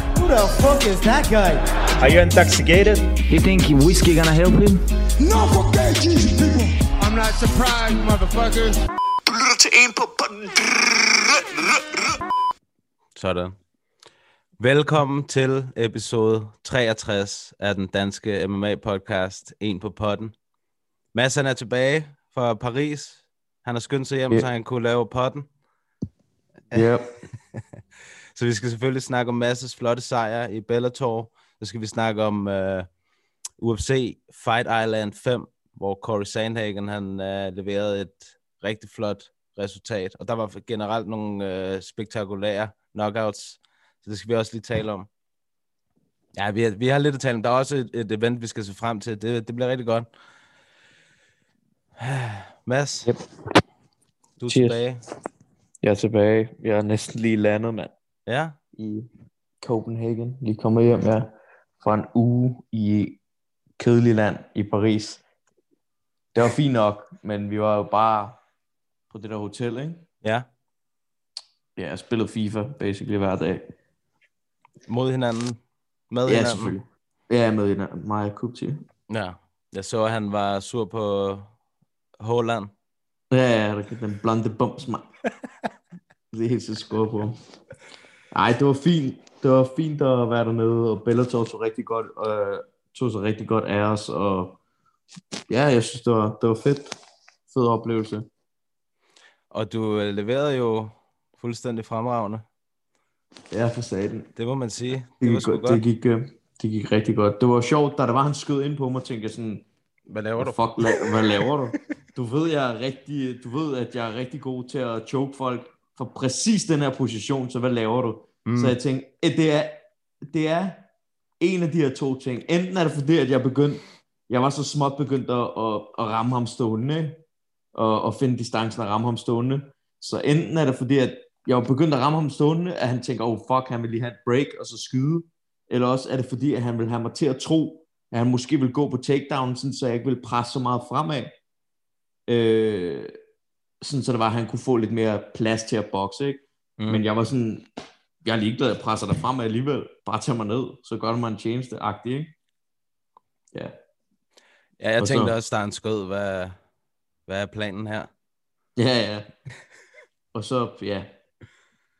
the fuck is that guy? Are you intoxicated? You think whiskey gonna help him? No, forget Jesus, people. I'm not surprised, motherfuckers. Du lytter til en på... på- Sådan. Velkommen til episode 63 af den danske MMA-podcast En på potten. Mads han er tilbage fra Paris. Han har skyndt sig hjem, Ja. så han kunne lave potten. Ja, Så vi skal selvfølgelig snakke om Mads' flotte sejr i Bellator. Så skal vi snakke om øh, UFC Fight Island 5, hvor Corey Sandhagen han øh, leverede et rigtig flot resultat. Og der var generelt nogle øh, spektakulære knockouts, så det skal vi også lige tale om. Ja, vi har, vi har lidt at tale om. Der er også et, et event, vi skal se frem til. Det, det bliver rigtig godt. Mads, Yep. du er Cheers. tilbage. jeg er tilbage. Jeg er næsten lige landet, mand, Ja, i Copenhagen. Lige kommet hjem, ja, fra en uge i kedelig land i Paris. Det var fint nok, men vi var jo bare på det der hotel, ikke? ja. Ja, jeg spillede FIFA basically hver dag. Mod hinanden. Med Ja, hinanden. selvfølgelig. Ja, med en Maja Kupti. Ja, jeg så, at han var sur på Håland. Ja, ja, der kan den blonde bums, mand. Det er helt så skåret på ham. Ej, det var fint. Det var fint at være dernede, og Bellator tog, rigtig godt, øh, tog sig rigtig godt af os, og ja, jeg synes, det var, det var fedt. Fed oplevelse. Og du øh, leverede jo fuldstændig fremragende. Ja, for satan. Det må man sige. Det Det var gik, sgu godt, det, godt. gik, øh, det gik rigtig godt. Det var sjovt, da der var, han skød ind på mig, tænkte jeg sådan, Hvad laver Hvad du? fuck, la- hvad laver du? Du ved, jeg er rigtig, du ved, at jeg er rigtig god til at choke folk fra præcis den her position, så hvad laver du? Mm. Så jeg tænkte, at det er, det er en af de her to ting. Enten er det fordi, at jeg begyndte, jeg var så småt begyndt at, at, at ramme ham stående, ikke? og, og finde distancen og ramme ham stående. Så enten er det fordi, at jeg var begyndt at ramme ham stående, at han tænker, oh fuck, han vil lige have et break, og så skyde. Eller også er det fordi, at han vil have mig til at tro, at han måske vil gå på takedown, sådan, så jeg ikke vil presse så meget fremad. Øh, sådan så det var, at han kunne få lidt mere plads til at bokse, ikke? Mm. Men jeg var sådan, jeg er ligeglad, jeg presser dig fremad alligevel. Bare tag mig ned, så gør du mig en tjeneste, agtig, ikke? Ja. Ja, jeg Og så- tænkte også, der er en skød. Hvad, hvad er planen her? Ja, ja. Og så, ja,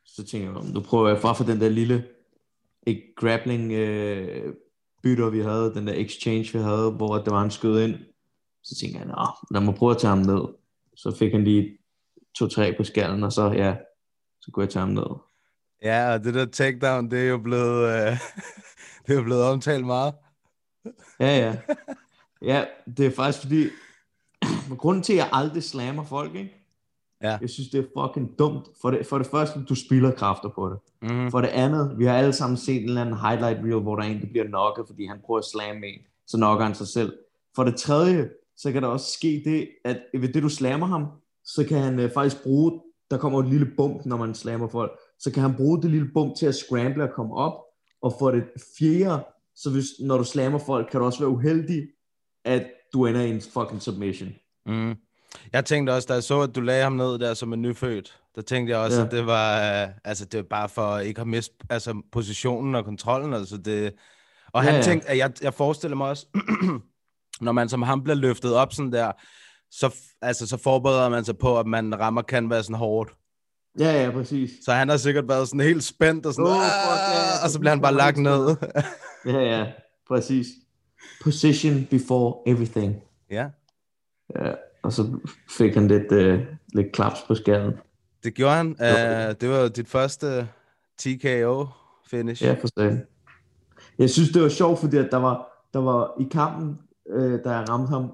så tænker jeg, nu prøver jeg bare for den der lille ikke, grappling øh, bytter, vi havde, den der exchange, vi havde, hvor det var en skød ind. Så tænker jeg, nå, lad mig prøve at tage ham ned. Så fik han lige to-tre på skallen, og så, ja, så kunne jeg tage ham ned. Ja, og det der takedown, det er jo blevet, øh, det er jo blevet omtalt meget. Ja, ja. Ja, det er faktisk fordi, men grunden til, at jeg aldrig slammer folk, ikke? Ja. Jeg synes, det er fucking dumt. For det, for det første, du spilder kræfter på det. Mm. For det andet, vi har alle sammen set en eller anden highlight reel, hvor der er en, der bliver knocket, fordi han prøver at slamme en, så knocker han sig selv. For det tredje, så kan der også ske det, at ved det du slammer ham, så kan han øh, faktisk bruge, der kommer jo et lille bump, når man slammer folk, så kan han bruge det lille bump til at scramble og komme op, og for det fjerde, så hvis, når du slammer folk, kan du også være uheldig, at du ender i en fucking submission. Mm. Jeg tænkte også, da jeg så, at du lagde ham ned der som en nyfødt, der tænkte jeg også, Ja. at det var, øh, altså, det var bare for ikke at miste altså, positionen og kontrollen. Altså, det... Og Ja, han ja. tænkte, at jeg, jeg forestiller mig også, når man som ham bliver løftet op sådan der, så, f- altså, så forbereder man sig på, at man rammer canvasen hårdt. Ja, ja, præcis. Så han har sikkert været sådan helt spændt og sådan, Åh, oh, fuck, fuck, ja, og så bliver han bare lagt ned. Ja, ja, præcis. Position before everything. ja, Ja, og så fik han lidt, øh, lidt klaps på skallen. det gjorde han. Uh, det var jo dit første TKO-finish. Ja, for satan. Jeg synes, det var sjovt, fordi at der var, der var i kampen, øh, da jeg ramte ham,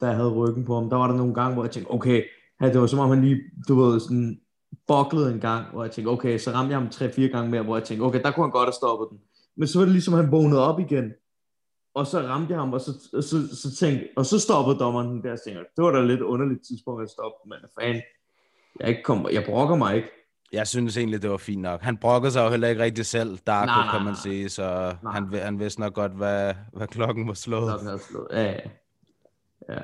da jeg havde ryggen på ham, der var der nogle gange, hvor jeg tænkte, okay, ja, det var som om han lige, du ved, sådan boklede en gang, hvor jeg tænkte, okay, så ramte jeg ham 3-4 gange mere, hvor jeg tænkte, okay, der kunne han godt have stoppet den. Men så var det ligesom, han vågnede op igen, og så ramte jeg ham, og så, og så, så tænkte, og så stoppede dommeren den der, så tænkte, jeg, det var da et lidt underligt tidspunkt at stoppe, men fan, jeg, er ikke kom, jeg brokker mig ikke. Jeg synes egentlig, det var fint nok. Han brokkede sig jo heller ikke rigtig selv, Darko, Nej, nej, kan man nej. sige, så Nej. han, vi- han vidste nok godt, hvad, hvad klokken var slået. Klokken er slået. Ja, ja. ja.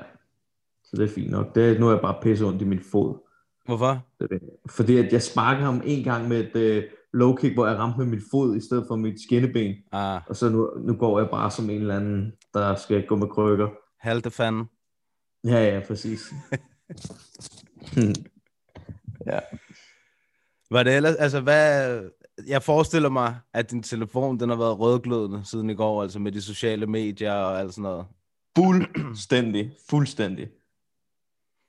Så det er fint nok. Det, er- nu er jeg bare pisse ondt i min fod. Hvorfor? Det er det. Fordi at jeg sparker ham en gang med et øh, low kick, hvor jeg ramte med min fod i stedet for mit skinneben. Ah, Og så nu, nu går jeg bare som en eller anden, der skal gå med krykker. halte fanden. Ja, ja, præcis. ja. Var det ellers, altså hvad, jeg forestiller mig, at din telefon, den har været rødglødende siden i går, altså med de sociale medier og alt sådan noget. Fuldstændig. Fuldstændig.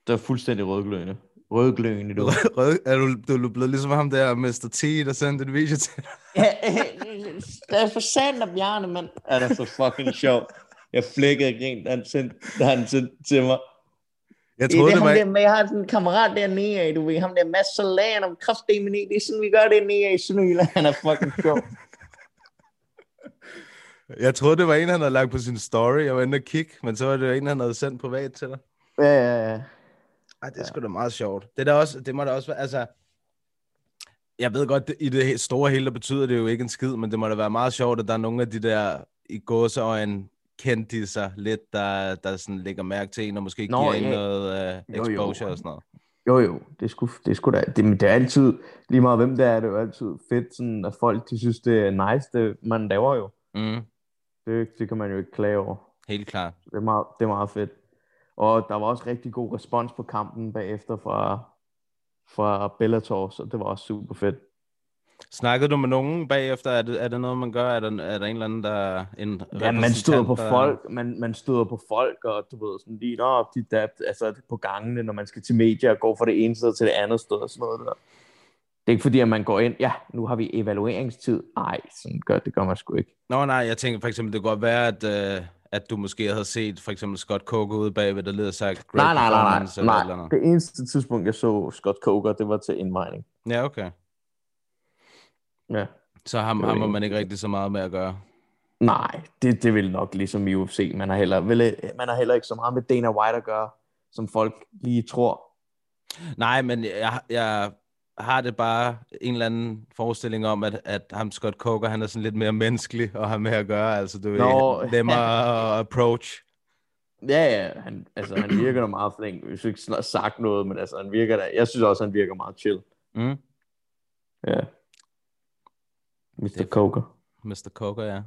Der er fuldstændig rødglødende. Rødglødende, du. Rød, er du, du er blevet ligesom ham der, Mr. T, der sendte en video til dig. det er for sandt af Bjarne, mand. Ja, det er så fucking sjovt. Jeg flækkede og grinede, da han sendte, da han sendte til mig. Jeg Det er troede, det, ham var, der med, jeg har sådan en kammerat dernede af, du ved, ham der Mads Solan om kraftdelen i, det er sådan, vi gør det nede af i Sønderjylland, han er fucking sjov. jeg troede, det var en, han havde lagt på sin story. Jeg var inde og kigge, men så var det jo en, han havde sendt privat til dig. ja, ja, ja. Ej, det er sgu da meget sjovt. Det, er da også, det må da også være, altså... Jeg ved godt, det, i det he- store hele, der betyder det jo ikke en skid, men det må da være meget sjovt, at der er nogle af de der i gåseøjne kendte sig lidt, der, der sådan lægger mærke til en, og måske Nå, giver en ja. noget uh, Jo, jo. exposure og sådan noget. Jo, jo, det skulle, det skulle da, det, men det er altid, lige meget hvem det er, det er jo altid fedt, sådan, at folk, de synes, det er nice, det man laver jo. Mm, Det, det kan man jo ikke klage over. helt klart. Det er, meget, det er meget fedt. Og der var også rigtig god respons på kampen bagefter fra, fra Bellator, så det var også super fedt. Snakkede du med nogen bagefter? Er det, er det noget, man gør? Er der, er der en eller anden, der... En Ja, man støder repræsentant, på der- folk, man, man støder på folk, og du ved, sådan lige, nå, de der, altså på gangene, når man skal til medier og går fra det ene sted til det andet sted og sådan noget der. Det er ikke fordi, at man går ind, ja, nu har vi evalueringstid. Nej, sådan gør, det gør man sgu ikke. Nå nej, jeg tænker for eksempel, det kunne godt være, at, øh, at du måske havde set for eksempel Scott Coker ude bagved, der leder sagt... great Nej, nej, nej, nej, performance eller et eller nej. andet. Det eneste tidspunkt, jeg så Scott Coker, det var til indvejning. Ja, okay. Ja. Så ham, Det var ham har det. man ikke rigtig så meget med at gøre. Nej, det, det vil nok ligesom i UFC. Man har, heller, vel, man har heller ikke så meget med Dana White at gøre, som folk lige tror. Nej, men jeg, jeg har det bare en eller anden forestilling om, at, at ham Scott Coker, han er sådan lidt mere menneskelig at have med at gøre. Altså, du Nå. er nemmere at approach. Ja, ja, han, altså, han virker da meget flink. Vi skal ikke snart sagt noget, men altså, han virker da, jeg synes også, han virker meget chill. Mm. Ja. Mr. Coker. Mr. Coker, ja. Ja.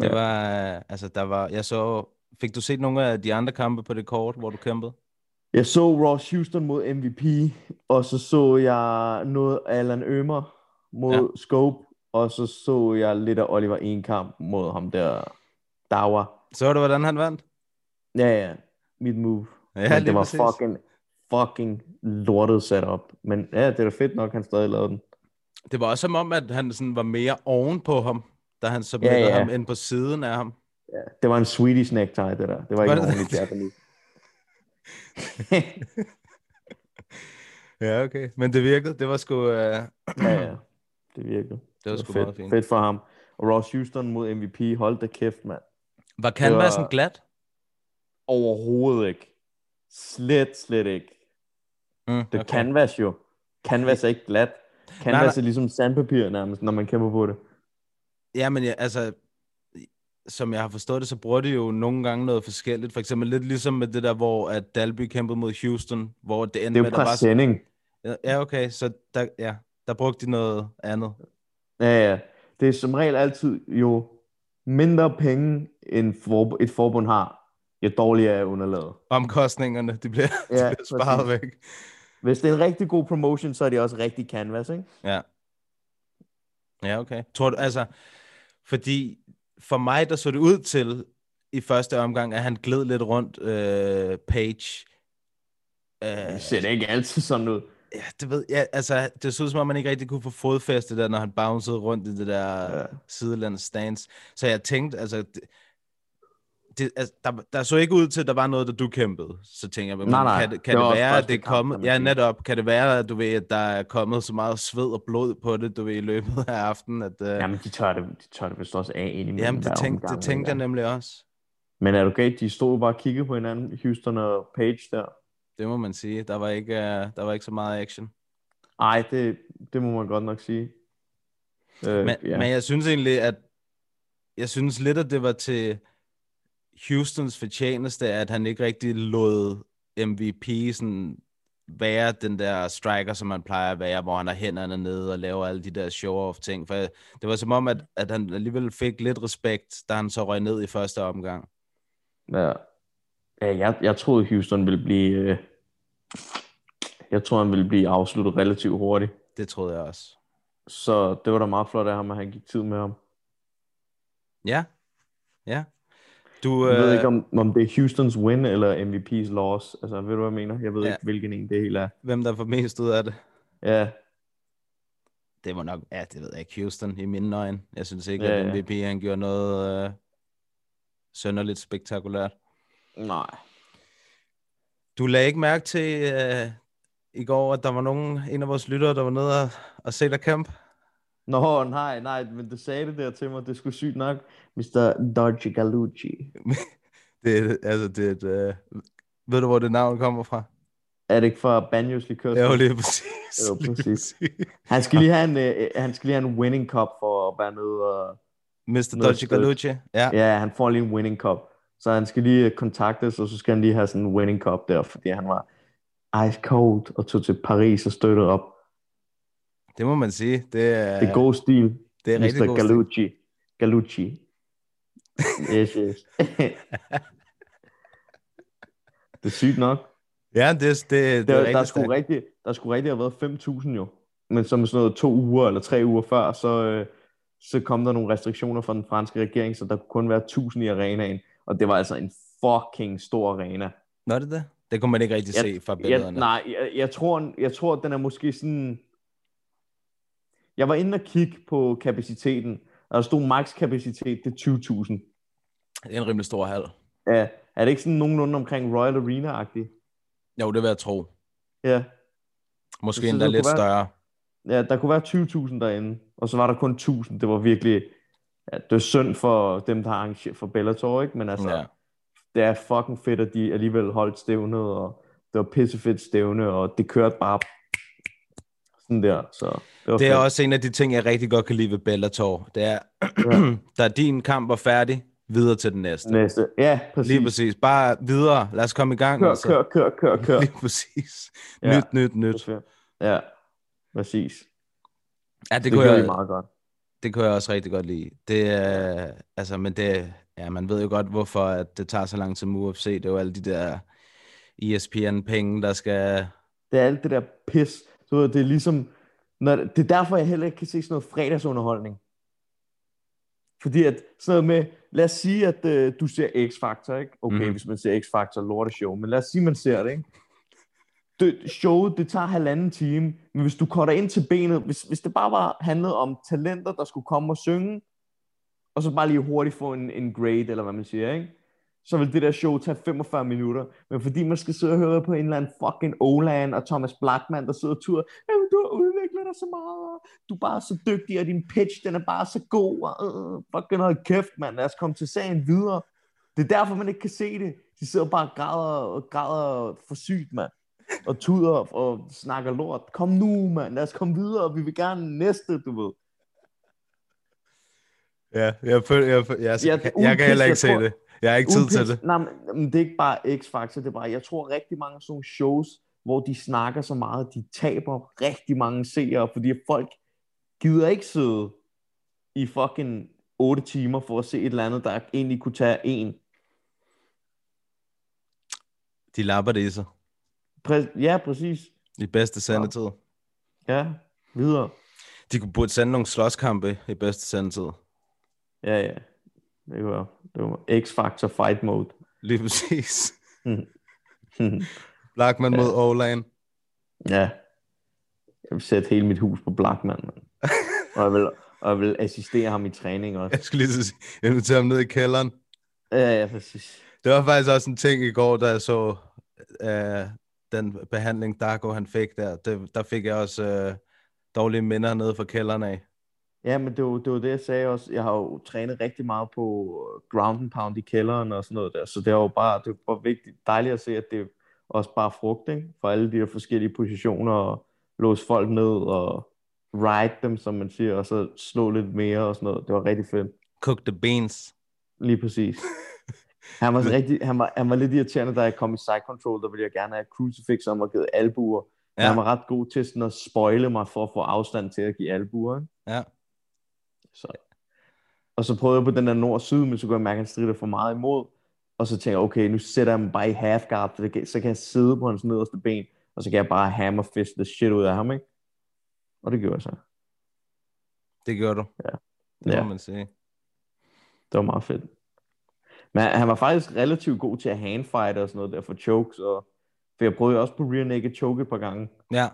Det var, øh, altså der var, jeg så, fik du set nogle af de andre kampe på det kort, hvor du kæmpede? Jeg så Ross Houston mod MVP, og så så jeg noget af Alan Ømer mod Ja. ja. Scope, og så så jeg lidt af Oliver Enkamp mod ham der Dawa. Så du, hvordan han vandt? Ja, ja, mit move. Ja, men lige det var præcis. fucking, fucking lortet setup. Men ja, det er da fedt nok, han stadig lavede den. Det var også som om, at han sådan var mere oven på ham, da han så ja, ja. ja. ham ind på siden af ham. Det var en Swedish necktie, det der. Det var Var ikke det en ordentlig det? japanese. Ja, okay. Men det virkede. Det var sgu, øh, det ja, ja. Det virkede. var sgu fedt, meget fint. fedt for ham. Og Ross Houston mod MVP, hold da kæft, mand. Var canvasen var- glat? Overhovedet ikke. Slet, slet ikke. Mm, Det okay. canvas jo. Canvas er ikke glat. Canvas Nej, nej, nej. nej. er ligesom sandpapir nærmest, når man kæmper på det. Ja, men jeg, altså, som jeg har forstået det, så bruger de jo nogle gange noget forskelligt. For eksempel lidt ligesom med det der, hvor at Dalby kæmpede mod Houston, hvor det endte Det er med, jo at der var sådan- præsending. Ja, okay, så der, ja, der brugte de noget andet. Ja, ja. Det er som regel altid jo mindre penge, end for, et forbund har, jo dårligere er underlaget. Omkostningerne, de bliver, ja, Ja, de bliver sparet væk. Hvis det er en rigtig god promotion, så er det også rigtig canvas, ikke? Ja. Ja, okay. Tror du, altså, fordi for mig, der så det ud til i første omgang, at han gled lidt rundt øh, Page. Øh, Det ser da ikke altid sådan ud. ja, det ved jeg, altså, det så ud som om, man ikke rigtig kunne få fodfæste der, når han bouncede rundt i det der ja. Ja. sidelands stance. Så jeg tænkte, altså, det, det, altså der, der så ikke ud til, at der var noget, der du kæmpede. Så tænker jeg, men Nej, nej. kan, det, kan Det var det, også være, at første det er kamp, kommet, kan man ja sige. netop, kan det være, at du ved, at der er kommet så meget sved og blod på det, du ved, i løbet af aftenen, at, øh, jamen, Jamen, de tør det, de tør det vist også af ind i jamen det, tænkte, det tænkte jeg nemlig også. Men er du galt, de stod bare og kiggede på hinanden, Houston og Page der. Det må man sige. Der var ikke, øh, der var ikke så meget action. Ej, det, det må man godt nok sige. Øh, Men, ja. men jeg synes egentlig, at jeg synes lidt, at det var til Houstons fortjeneste, at han ikke rigtig lod MVP sådan være den der striker, som man plejer at være, hvor han har hænderne nede og laver alle de der show-off ting. For jeg- det var som om, at, at han alligevel fik lidt respekt, da han så røg ned i første omgang. Ja. ja jeg, jeg troede, Houston ville blive... Øh... Jeg tror, han ville blive afsluttet relativt hurtigt. Det troede jeg også. Så det var da meget flot af ham, at han gik tid med ham. Ja, ja. Du, Jeg ved øh, ikke, om, om det er Houstons win eller MVP's loss. Altså, ved du, hvad jeg mener? Jeg ved Ja. ja. ikke, hvilken en det hele er. hvem der får mest ud af det. Ja, Det var nok, ja, det ved jeg ikke, Houston i mine øjne. Jeg synes ikke, Ja, at ja. MVP han gjorde noget øh, sønderligt spektakulært. nej. Du lagde ikke mærke til øh, i går, at der var nogen, en af vores lyttere, der var nede og, og se der kamp. Nå, nej, nej, men du sagde det der til mig. Det skulle sygt nok. Mr. Dodgy Galucci. Det er, altså, det er et, øh, ved du, hvor det navn kommer fra? Er det ikke fra Banjos Likørs? Ja, jo, lige præcis. Jo, lige præcis. Han skal lige have en, øh, han skal lige have en winning cup for at være nede og... Mr. Noget Dodgy stødt. Galucci. Ja. Ja, han får lige en winning cup. Så han skal lige øh, kontaktes, og så skal han lige have sådan en winning cup der, fordi han var ice cold og tog til Paris og støttede op. det må man sige. Det er, Det er god stil. det er rigtig Mr. god stil. Galucci. Galucci. Yes, yes. det er sygt nok. Ja, det, det, det, Der, det er der, rigtig skulle stærkt. rigtig, der skulle rigtig have været 5.000 jo. Men som sådan noget to uger eller tre uger før, så, øh, så kom der nogle restriktioner fra den franske regering, så der kunne kun være 1.000 i arenaen. Og det var altså en fucking stor arena. Nå, er det det? Det kunne man ikke rigtig Jeg- se fra Jeg, billederne. nej, jeg, jeg, tror, jeg tror, den er måske sådan... Jeg var inde og kigge på kapaciteten, og der stod maks kapacitet, det er 20.000. Det er en rimelig stor hal. Ja, er det ikke sådan nogenlunde omkring Royal Arena-agtigt? Jo, det vil jeg tro. Ja. Måske Jeg synes, endda det lidt kunne være- større. ja, der kunne være 20.000 derinde, og så var der kun 1.000. Det var virkelig, ja, det var synd for dem, der arrangerer for Bellator, ikke? Men altså, Ja. ja. det er fucking fedt, at de alligevel holdt stævnet, og det var pissefedt stævne, og det kørte bare sådan der, så det var Det er fedt. også en af de ting, jeg rigtig godt kan lide ved Bellator. Det er, der er din kamp var færdig, videre til den næste. Næste. Ja, præcis. Lige præcis. Bare videre. Lad os komme i gang. Kør, altså. kør, kør, kør, kør. Lige præcis. Ja. Nyt, nyt, nyt. Det var fedt. Ja, præcis. Ja, det, Det, kunne gjorde jeg, de meget godt. det kunne jeg også rigtig godt lide. Det, øh, altså, men det, ja, man ved jo godt, hvorfor at det tager så lang tid med UFC. Det er jo alle de der E ESPN-penge, der skal... Det er alt det der pis. Du ved, det er ligesom... Når, det er derfor, jeg heller ikke kan se sådan noget fredagsunderholdning. Fordi at sådan noget med... Lad os sige, at øh, du ser X-Factor, ikke? Okay, Mhm. mm. hvis man ser X-Factor, lorte show. Men lad os sige, man ser det, ikke? Det, showet, det tager halvanden time. Men hvis du korter ind til benet... Hvis, hvis det bare var handlede om talenter, der skulle komme og synge... Og så bare lige hurtigt få en, en grade, eller hvad man siger, ikke? så vil det der show tage 45 minutter. Men fordi man skal sidde og høre på en eller anden fucking Olan og Thomas Blackman, der sidder og turer, Jamen, du har udviklet dig så meget, og du er bare så dygtig, og din pitch, den er bare så god, og øh, fucking hold kæft, mand, lad os komme til sagen videre. Det er derfor, man ikke kan se det. De sidder bare og græder og græder for sygt, mand. Og tuder og snakker lort. Kom nu, mand. Lad os komme videre. Vi vil gerne næste, du ved. Ja, jeg, føl, jeg, føl, jeg, Ja, jeg, det er jeg, jeg kan heller udenpis, ikke jeg se tror- det. Jeg har ikke tid til Udenpils- det. Nej, men, men det er ikke bare X-Factor, det er bare, jeg tror rigtig mange af sådan nogle shows, hvor de snakker så meget, de taber rigtig mange seere, fordi folk gider ikke sidde i fucking 8 timer for at se et eller andet, der egentlig kunne tage en. De lapper det i sig. Præ- ja, præcis. I bedste sendetid. Ja, videre. De kunne burde sende nogle slåskampe i bedste sendetid. Ja, ja. Det var, det var X-Factor Fight Mode. Lige præcis. Mm. Blackman mod Olan. Ja. Jeg vil sætte hele mit hus på Blackman. mand. Og jeg vil, og jeg vil assistere ham i træning også. Jeg skulle lige så sige, invitere ham ned i kælderen. Ja, ja, præcis. Det var faktisk også en ting i går, da jeg så øh, den behandling, Darko han fik der. Det, der fik jeg også øh, dårlige minder nede fra kælderen af. Ja, men det var, det var det, jeg sagde også. Jeg har jo trænet rigtig meget på øh, ground and pound i kælderen og sådan noget der. Så det er jo bare, det er bare vigtigt, dejligt at se, at det er også bare frugt, ikke? For alle de der forskellige positioner og låse folk ned og ride dem, som man siger, og så slå lidt mere og sådan noget. Det var rigtig fedt. Cook the beans. Lige præcis. Han var, sådan rigtig, han, var, han var lidt irriterende, da jeg kom i Side Control, der ville jeg gerne have crucifix, som var givet albuer. Ja. Ja. Han var ret god til sådan at spoile mig for at få afstand til at give albuer. ikke? Ja. Så. Og så prøvede jeg på den der nord-syd, men så kunne jeg mærke, at han strider for meget imod. Og så tænkte jeg, okay, nu sætter jeg mig bare i half guard, så kan, så kan jeg sidde på hans nederste ben, og så kan jeg bare hammer fist the shit ud af ham, ikke? Og det gjorde jeg så. Det gjorde du. Ja. Det må Ja. man sige. Det var meget fedt. Men han han var faktisk relativt god til at handfight og sådan noget der for chokes. Og, for jeg prøvede jo også på rear naked choke et par gange, Ja.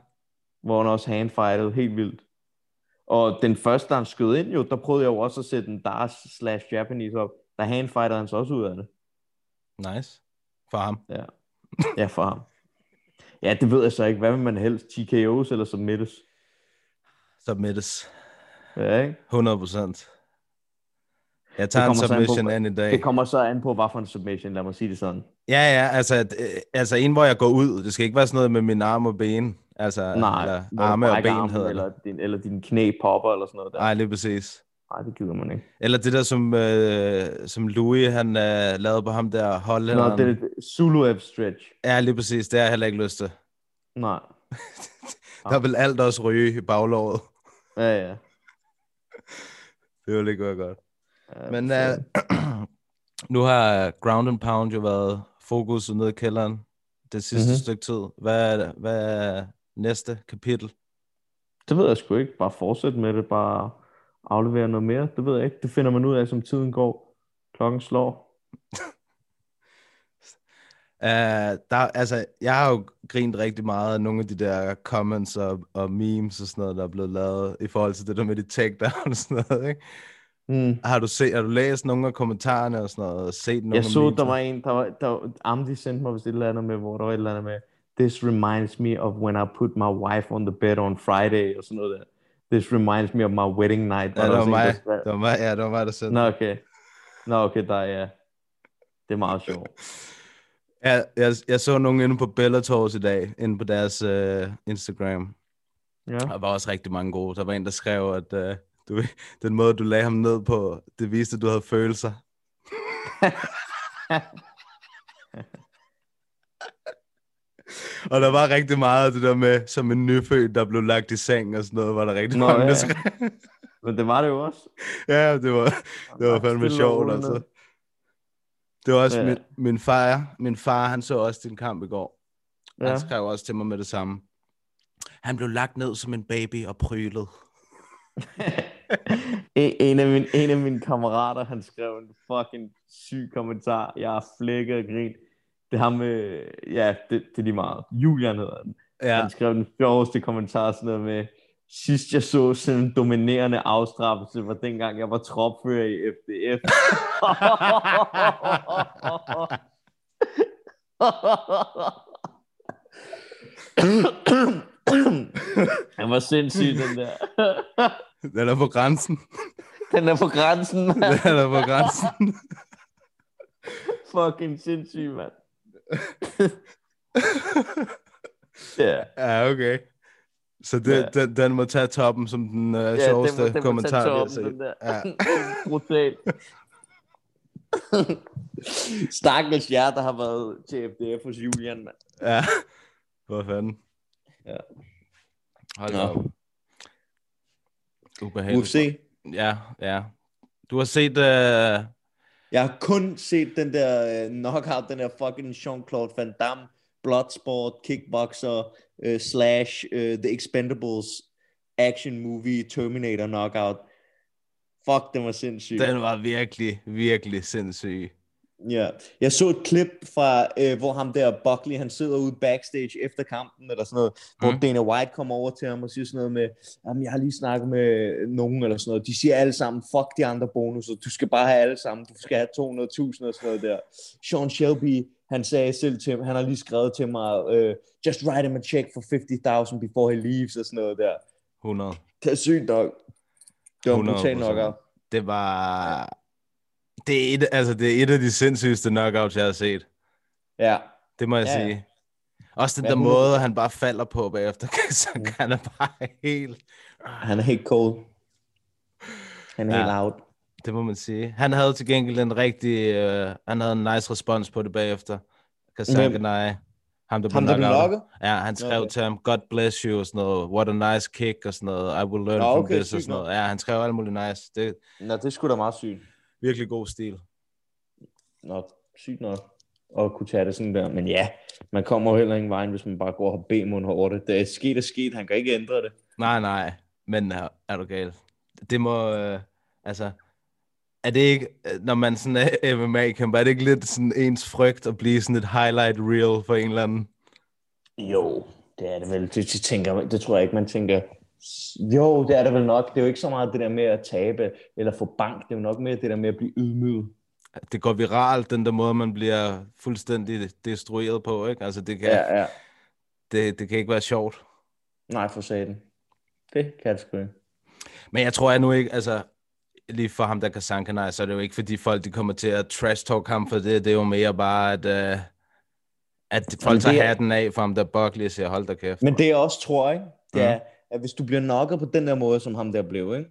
hvor han også handfightede helt vildt. Og den første, der han skød ind jo, der prøvede jeg jo også at sætte en Dars slash Japanese op. Der handfightede han så også ud af det. Nice. For ham. Ja, for ham. Ja, det ved jeg så ikke. Hvad vil man helst? TKO's eller submittes? Submittes. Ja, ikke? 100 procent. Jeg tager en kommer så an på, submission hvad- an i dag. Det kommer så an på, hvad for en submission, lad mig sige det sådan. Ja, ja, altså, at, øh, altså en, hvor jeg går ud. Det skal ikke være sådan noget med min arm og ben. Altså, Nej, eller hvor du arme og brækker ben armen, hedder eller... eller, din, eller din knæ popper eller sådan noget der. Nej, lige præcis. Nej, det gider man ikke. Eller det der, som, øh, som Louis, han øh, lavede på ham der Nå, hollænderen. det er det- Zulu F stretch. Ja, lige præcis. Det har jeg heller ikke lyst til. Ah. Nej. Der vil alt også ryge i baglåret. Ja, ja. Det ville ikke være godt. ja Men så- øh, nu har Ground and Pound jo været fokuset nede i kælderen det sidste Mhm. mm-hmm. stykke tid. Hvad er, hvad er næste kapitel? Det ved jeg sgu ikke. Bare fortsæt med det. Bare aflevere noget mere. Det ved jeg ikke. Det finder man ud af, som tiden går. Klokken slår. Uh, der, altså, jeg har jo grint rigtig meget af nogle af de der comments og, og memes og sådan noget, der er blevet lavet i forhold til det der med de takedown og sådan noget. Ikke? Mm. Har, du set, har du læst nogle af kommentarerne og sådan noget? Og set nogle Jeg af så, memes? der var en, der var, der, var- Amdi sendte mig vist et eller andet med, hvor der var et eller andet med, this reminds me of when I put my wife on the bed on Friday, og sådan noget der. This reminds me of my wedding night. Ja, det Og der var også en, mig. der skrev- Det var mig, ja, det var mig, der sendte Nå, okay. Nå, okay, der ja. Det er meget sjovt. Jeg, jeg, jeg så nogen inde på Bellators i dag, inde på deres øh, Instagram. Ja. Der var også rigtig mange gode. Der var en, der skrev, at øh, du, ved, den måde, du lagde ham ned på, det viste, at du havde følelser. og der var rigtig meget af det der med, som en nyfødt, der blev lagt i seng og sådan noget, var der rigtig Nå, Nå, mange, ja. der skrev. Men det var det jo også. ja, det var, det var fandme Stille og sjovt, roligt altså. ned. Det var også Ja. ja. min, min far, min far, han så også din kamp i går. Ja. Ja. Han skrev også til mig med det samme. Han blev lagt ned som en baby og prylet. en, E, en af mine, en af mine kammerater, han skrev en fucking syg kommentar. Jeg er flækket og grin. Det har med, ja, det, det er lige meget. Julian hedder den. Ja. Han skrev den sjoveste kommentar, sådan noget med, sidst jeg så sådan en dominerende afstraffelse, var dengang jeg var tropfører i FDF. Han var sindssyg, den der. Den er på grænsen. Den er på grænsen, mand. Den er på grænsen. Fucking sindssyg, mand. ja, ja, okay. Så det, ja. den, den må tage toppen som den øh, ja den, sjoveste må- den må tage kommentar, vi har toppen, set. den der. Ja. Brutal. Stakkels jer, der har været til FDF hos Julian, mand. Ja. Hvor fanden. Ja. Hold Nå. da op. Ubehageligt. UFC. Ja, ja. Du har set... Øh... Jeg har kun set den der øh, knockout, den der fucking Jean-Claude Van Damme, Bloodsport, Kickboxer, øh, slash øh, The Expendables action movie, Terminator knockout. Fuck, den var sindssyg. Den var virkelig, virkelig sindssyg. Ja. Jeg så et klip fra, øh, hvor ham der Buckley, han sidder ude backstage efter kampen, eller sådan noget, hvor Mm. Dana White kommer over til ham og siger sådan noget med, jamen jeg har lige snakket med nogen, eller sådan noget. De siger alle sammen, fuck de andre bonusser, du skal bare have alle sammen, du skal have 200.000 og sådan noget der. Sean Shelby, han sagde selv til mig, han har lige skrevet til mig, øh, just write him a check for 50.000 before he leaves, og sådan noget der. 100. Det er sygt nok. Det var en brutal 100%. nok. Det var... Det er, et, altså, det er et af de sindssygeste knockouts, jeg har set. Ja. Det må jeg Ja, ja, ja. sige. Også den Ja, der 100. måde, han bare falder på bagefter, så Mm. kan han er bare helt... Han er helt cold. Han er Ja. helt out. Det må man sige. Han havde til gengæld en rigtig... Øh, han havde en nice respons på det bagefter. Kasanganai. Ham, der blev Ham, der blev knockoutet. knocket? Ja, han skrev Okay. okay. til ham, God bless you, og sådan noget. What a nice kick, og sådan noget. I will learn Nå, from okay, this, og sygt sådan nok. noget. Ja, han skrev alt muligt nice. Det er Nå, det skulle da meget sygt. virkelig god stil. Nå, sygt nok at kunne tage det sådan der. Men ja, man kommer jo heller ingen vejen, hvis man bare går og har B-mund over det. Det er sket er sket, han kan ikke ændre det. Nej, nej. Men er, er du gal? Det må... Øh, altså... Er det ikke, øh, når man sådan er MMA-kæmper, er det ikke lidt sådan ens frygt at blive sådan et highlight reel for en eller anden? Jo, det er det vel. Det, det, tænker, man- det tror jeg ikke, man tænker. Jo, det er det vel nok. Det er jo ikke så meget det der med at tabe eller få bank. Det er jo nok mere det der med at blive ydmyget. det går viralt, den der måde, man bliver fuldstændig destrueret på, ikke? Altså, det kan, ja. ja. det, det kan ikke være sjovt. Nej, for satan. Det kan det sgu ikke. Men jeg tror, jeg nu ikke, altså, lige for ham, der kan sanke så er det jo ikke, fordi folk, de kommer til at trash-talk ham for det. Det er jo mere bare, at, øh, at folk det tager er- hatten af for ham, der Buckley og siger, hold da kæft. Men det jeg også tror, ikke? det Mhm. er, at hvis du bliver knocket på den der måde, som ham der blev, ikke?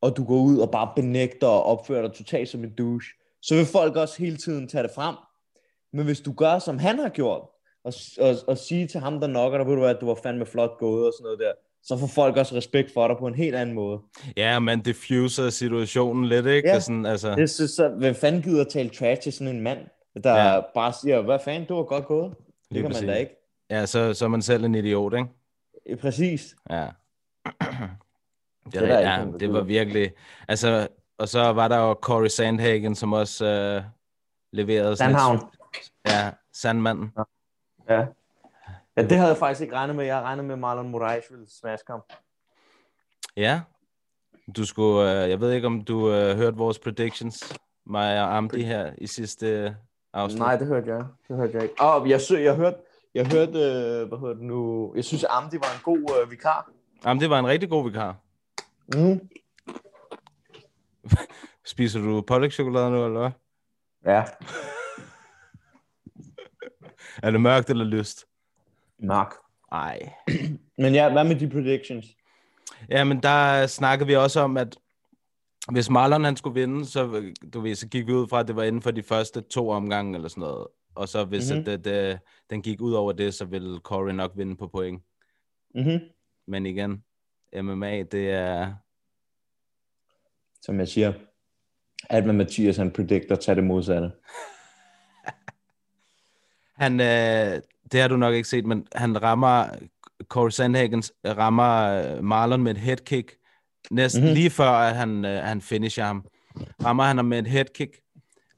og du går ud og bare benægter og opfører dig totalt som en douche, så vil folk også hele tiden tage det frem. Men hvis du gør, som han har gjort, og, og, og sige til ham, der knocker dig, ved du hvad, du var fandme flot gået og sådan noget der, så får folk også respekt for dig på en helt anden måde. Ja, man diffuser situationen lidt, ikke? Ja. Og sådan, altså, Det synes jeg, hvem fanden gider at tale trash til sådan en mand, der Ja. ja. bare siger, hvad fanden, du var godt gået. Det Lige kan man da præcis. ikke. ja så, så er man selv en idiot, ikke? Eh, Præcis. Ja. Det, er det, der ja, ikke nogen, der det var gider. virkelig... Altså, og så var der jo Corey Sandhagen, som også øh, leverede... sådan et- Sandhavn. Ja, Sandmanden. Ja. ja, det havde jeg faktisk ikke regnet med. Jeg regnede med, at Marlon Moraes ville smaske ham. Ja. Du skulle... Øh, jeg ved ikke, om du øh, hørte vores predictions, mig og Amdi her i sidste øh, afsnit. Nej, det hørte jeg. Det hørte jeg ikke. Og jeg, sø, jeg hørte, jeg hørte øh, hvad hedder det nu? Jeg synes, at Amdi var en god øh, vikar. Jamen, det var en rigtig god vikar. Mm. Spiser du pålægtschokolade nu, eller hvad? Ja, Er det mørkt eller lyst? nok. Nej. Men ja, hvad med de predictions? Jamen, der snakkede vi også om, at hvis Marlon han skulle vinde, så, du ved, så gik vi ud fra, at det var inden for de første to omgange eller sådan noget. Og så hvis mm-hmm. Mhm. at, at, øh, den gik ud over det, så ville Corey nok vinde på point. Mm-hmm. Men igen, MMA, det er... Som jeg siger, alt med Mathias, han predicter, tager det modsatte. Han, øh, det har du nok ikke set, men han rammer, Corey Sandhagen rammer øh, Marlon med et headkick, næsten mm-hmm. Mhm. lige før at han, øh, han finisher ham. Rammer han ham med et headkick,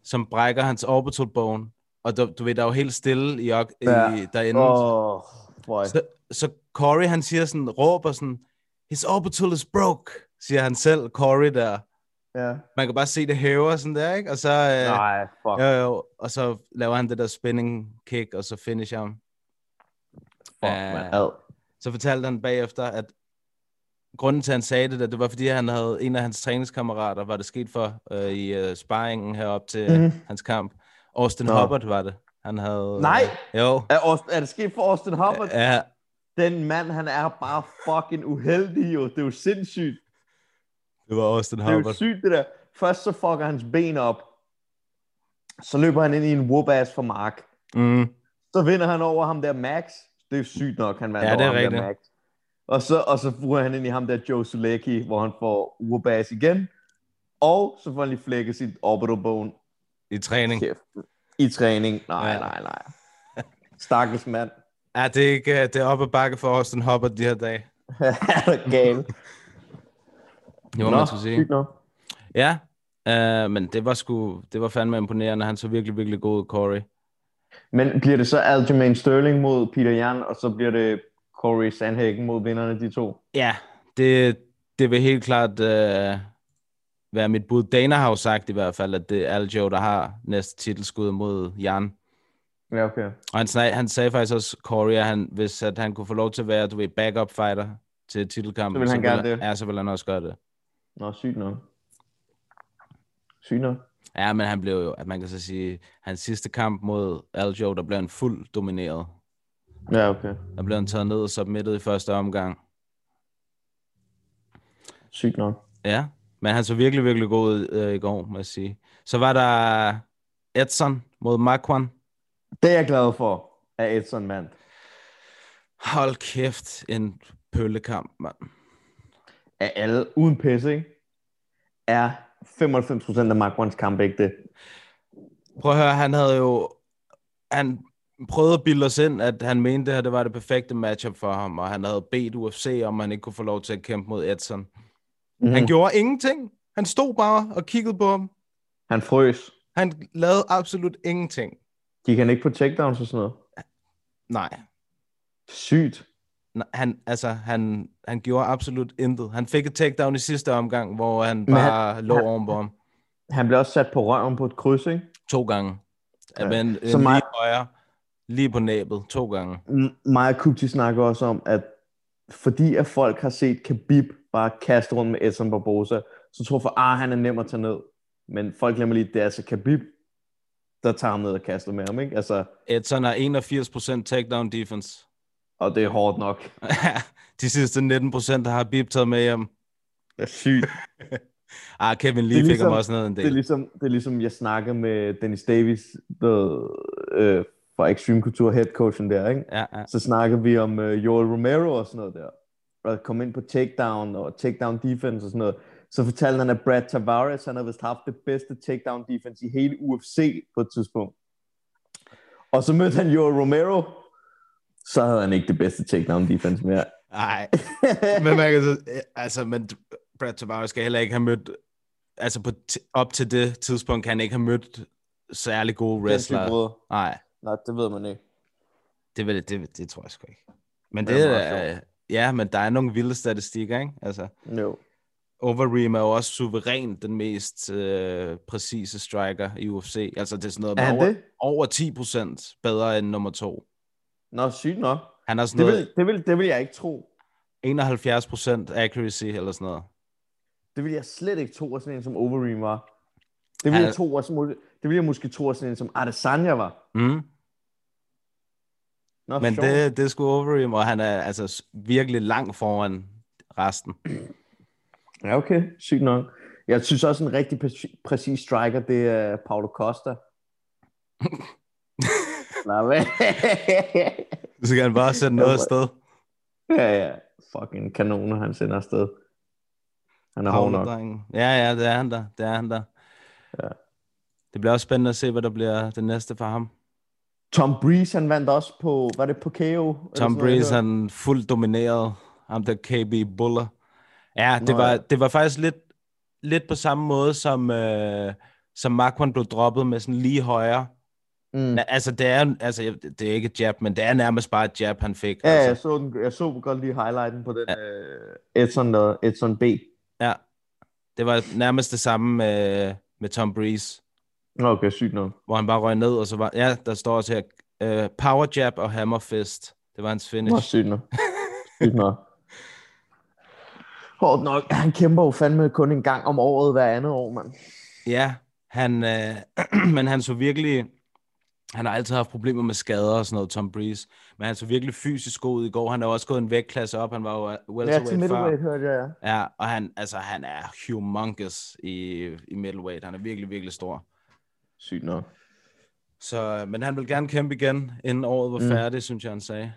som brækker hans orbital bone, og du, du ved, der er jo helt stille i, ok- i Ja. derinde. Åh, oh, boy. Så, så Corey, han siger sådan, råber sådan, his orbital is broke, siger han selv, Corey der. Ja. Man kan bare se, det hæver sådan der, ikke? Og så, øh, Nej, fuck. jo, jo, og så laver han det der spinning kick, og så finisher ham. fuck Ja. man. Ad. Så fortalte han bagefter, at grunden til, at han sagde det, der, det var, fordi han havde en af hans træningskammerater, var det sket for øh, i øh, sparringen herop til øh, Mhm. hans kamp. Austin Nå. Hubbard var det. Han havde... øh, Nej! Jo. Er, Aust- er det sket for Austin Hubbard? Ja, Den mand, han er bare fucking uheldig, jo. Det er jo sindssygt. det var Austin Det er jo Hubbard. sygt, det der. Først så fucker hans ben op. Så løber han ind i en whoop-ass for Mark. Mm. Så vinder han over ham der Max. Det er jo sygt nok, han vandt Ja, det er over ham rigtigt. der Max. Og så, og så bruger han ind i ham der Joe Sulecki, hvor han får whoop-ass igen. Og så får han lige flækket sit orbital bone I træning. kæft. i træning. Nej, Ja. ja. nej, nej. Stakkels mand. Ja, det er, ikke, øh, det er op ad bakke for Austin Hubbard de her dage. er du gal? Det må man skulle sige. sygt nok. Ja, øh, men det var sgu, det var fandme imponerende. Han så virkelig, virkelig god ud, Corey. Men bliver det så Aljamain Sterling mod Peter Jan, og så bliver det Corey Sandhagen mod vinderne, de to? Ja, det, det vil helt klart øh, være mit bud. Dana har jo sagt i hvert fald, at det er Aljo, der har næste titelskud mod Jan. Ja, okay. Og han, snak, han sagde faktisk også, Corey, at han, hvis at han kunne få lov til at være, du ved, backup fighter til titelkampen, Så ville han gerne det. Ja, så ville han også gøre det. Nå, sygt nok. Sygt nok. Ja, men han blev jo, at man kan så sige, hans sidste kamp mod Aljo, der blev han fuldt domineret. Ja, okay. Der blev han taget ned og submittet i første omgang. Sygt nok. Ja, Men han så virkelig, virkelig god ud øh, i går, må jeg sige. Så var der Edson mod Marquand. Det er jeg glad for, af Edson, mand. Hold kæft, en pøllekamp, mand. Af alle, uden pisse, ikke? Er 95% af Macrons kamp ikke det? Prøv at høre, han havde jo... Han prøvede at bilde os ind, at han mente, at det her det var det perfekte matchup for ham, og han havde bedt UFC, om han ikke kunne få lov til at kæmpe mod Edson. Mm. Mhm. Han gjorde ingenting. Han stod bare og kiggede på ham. Han frøs. Han lavede absolut ingenting. Gik han ikke på takedowns og sådan noget? Nej. Sygt. Nej, han, altså, han, han gjorde absolut intet. Han fik et takedown i sidste omgang, hvor han han- bare lå han- ovenpå ham Han blev også sat på røven på et kryds, ikke? to gange. Ja. Ja. Men, en Så lige meget- højre, lige på næbet, to gange. M- Maja Kupti snakker også om, at fordi at folk har set Khabib bare kaste rundt med Edson Barbosa, så tror folk, ah, han er nem at tage ned. Men folk glemmer lige, at det er altså Khabib, der tager ham ned og kaster med ham, ikke? Altså, Edson har 81% takedown defense. og det er hårdt nok. De sidste 19% har Bib taget med hjem. Det er sygt. Ah, Kevin Lee Det er ligesom, fik ham ligesom- også ned en Det er del. ligesom, det er ligesom jeg snakkede med Dennis Davis, der, øh, fra Extreme Couture head coachen der, ikke? Ja, ja. så snakkede vi om øh, Joel Romero og sådan noget der. Og at komme ind på takedown og takedown defense og sådan noget. Så fortalte han, at Brad Tavares, han havde vist haft det bedste takedown defense i hele UFC på et tidspunkt. Og så mødte han Joel Romero, så havde han ikke det bedste takedown defense mere. Nej. men man kan så, altså, men Brad Tavares skal heller ikke have mødt, altså på t- op til det tidspunkt kan han ikke have mødt særlig gode wrestlere. Nej, Nej, det ved man ikke. det, vil, det, det tror jeg sgu ikke. Men Det det, er det meget er, ja, men der er nogle vilde statistikker, ikke? Altså, Jo. Overeem er jo også suverænt den mest øh, præcise striker i UFC. Altså det er sådan noget Er med han over, det? over 10% bedre end nummer to. Nå, sygt nok. Han har sådan Det noget vil, det, vil, det vil jeg ikke tro. 71% accuracy eller sådan noget. Det ville jeg slet ikke tro, at sådan en som Overeem var. Det ville, Han- jeg, tro, at, sådan- det ville jeg måske tro, at sådan en som Adesanya var. Mm. Nå, Men sjovt. det, det er sgu Overeem, og han er altså s- virkelig langt foran resten. Ja, okay. Sygt nok. Jeg synes også, en rigtig præ- præcis striker, det er Paulo Costa. Nej, hvad? Så skal han bare sætte noget afsted. ja, ja. Fucking kanoner, han sender afsted. Han er hård nok. Havnedrengen. Ja, ja, det er han der. Det er han der. Ja. Det bliver også spændende at se, hvad der bliver det næste for ham. Tom Breeze, han vandt også på, var det på KO? eller sådan Tom noget, jeg Breeze, hørte? han fuldt dominerede ham der KB Buller. Ja, det, Nå, var, ja. det var faktisk lidt, lidt på samme måde, som, øh, som Marquand blev droppet med sådan lige højre. Mm. Na- Altså, det er, altså, jeg- det er ikke et jab, men det er nærmest bare et jab, han fik. Ja, jeg altså. så, den, jeg så godt lige highlighten på den øh, Edson, der, Edson B. ja. Det var nærmest det samme med, med Tom Breeze, Nå, Okay, sygt nok. hvor han bare røg ned, og så var... Ja, der står også her, øh, power jab og hammer fist. Det var hans finish. Nå, sygt nok. sygt nok. Hårdt nok. Han kæmper jo fandme kun en gang om året hver andet år, mand. Ja, han, øh, men han så virkelig... Han har altid haft problemer med skader og sådan noget, Tom Breeze. Men han så virkelig fysisk god ud i går. Han er jo også gået en vægtklasse op. Han var jo øh, Ja, til welterweight før. middleweight hørte jeg, ja. Ja, og han, altså, han er humongous i, i middleweight. Han er virkelig, virkelig stor. Sygt nok. Så, øh, men han vil gerne kæmpe igen, inden året var Mm. færdigt, synes jeg, han sagde.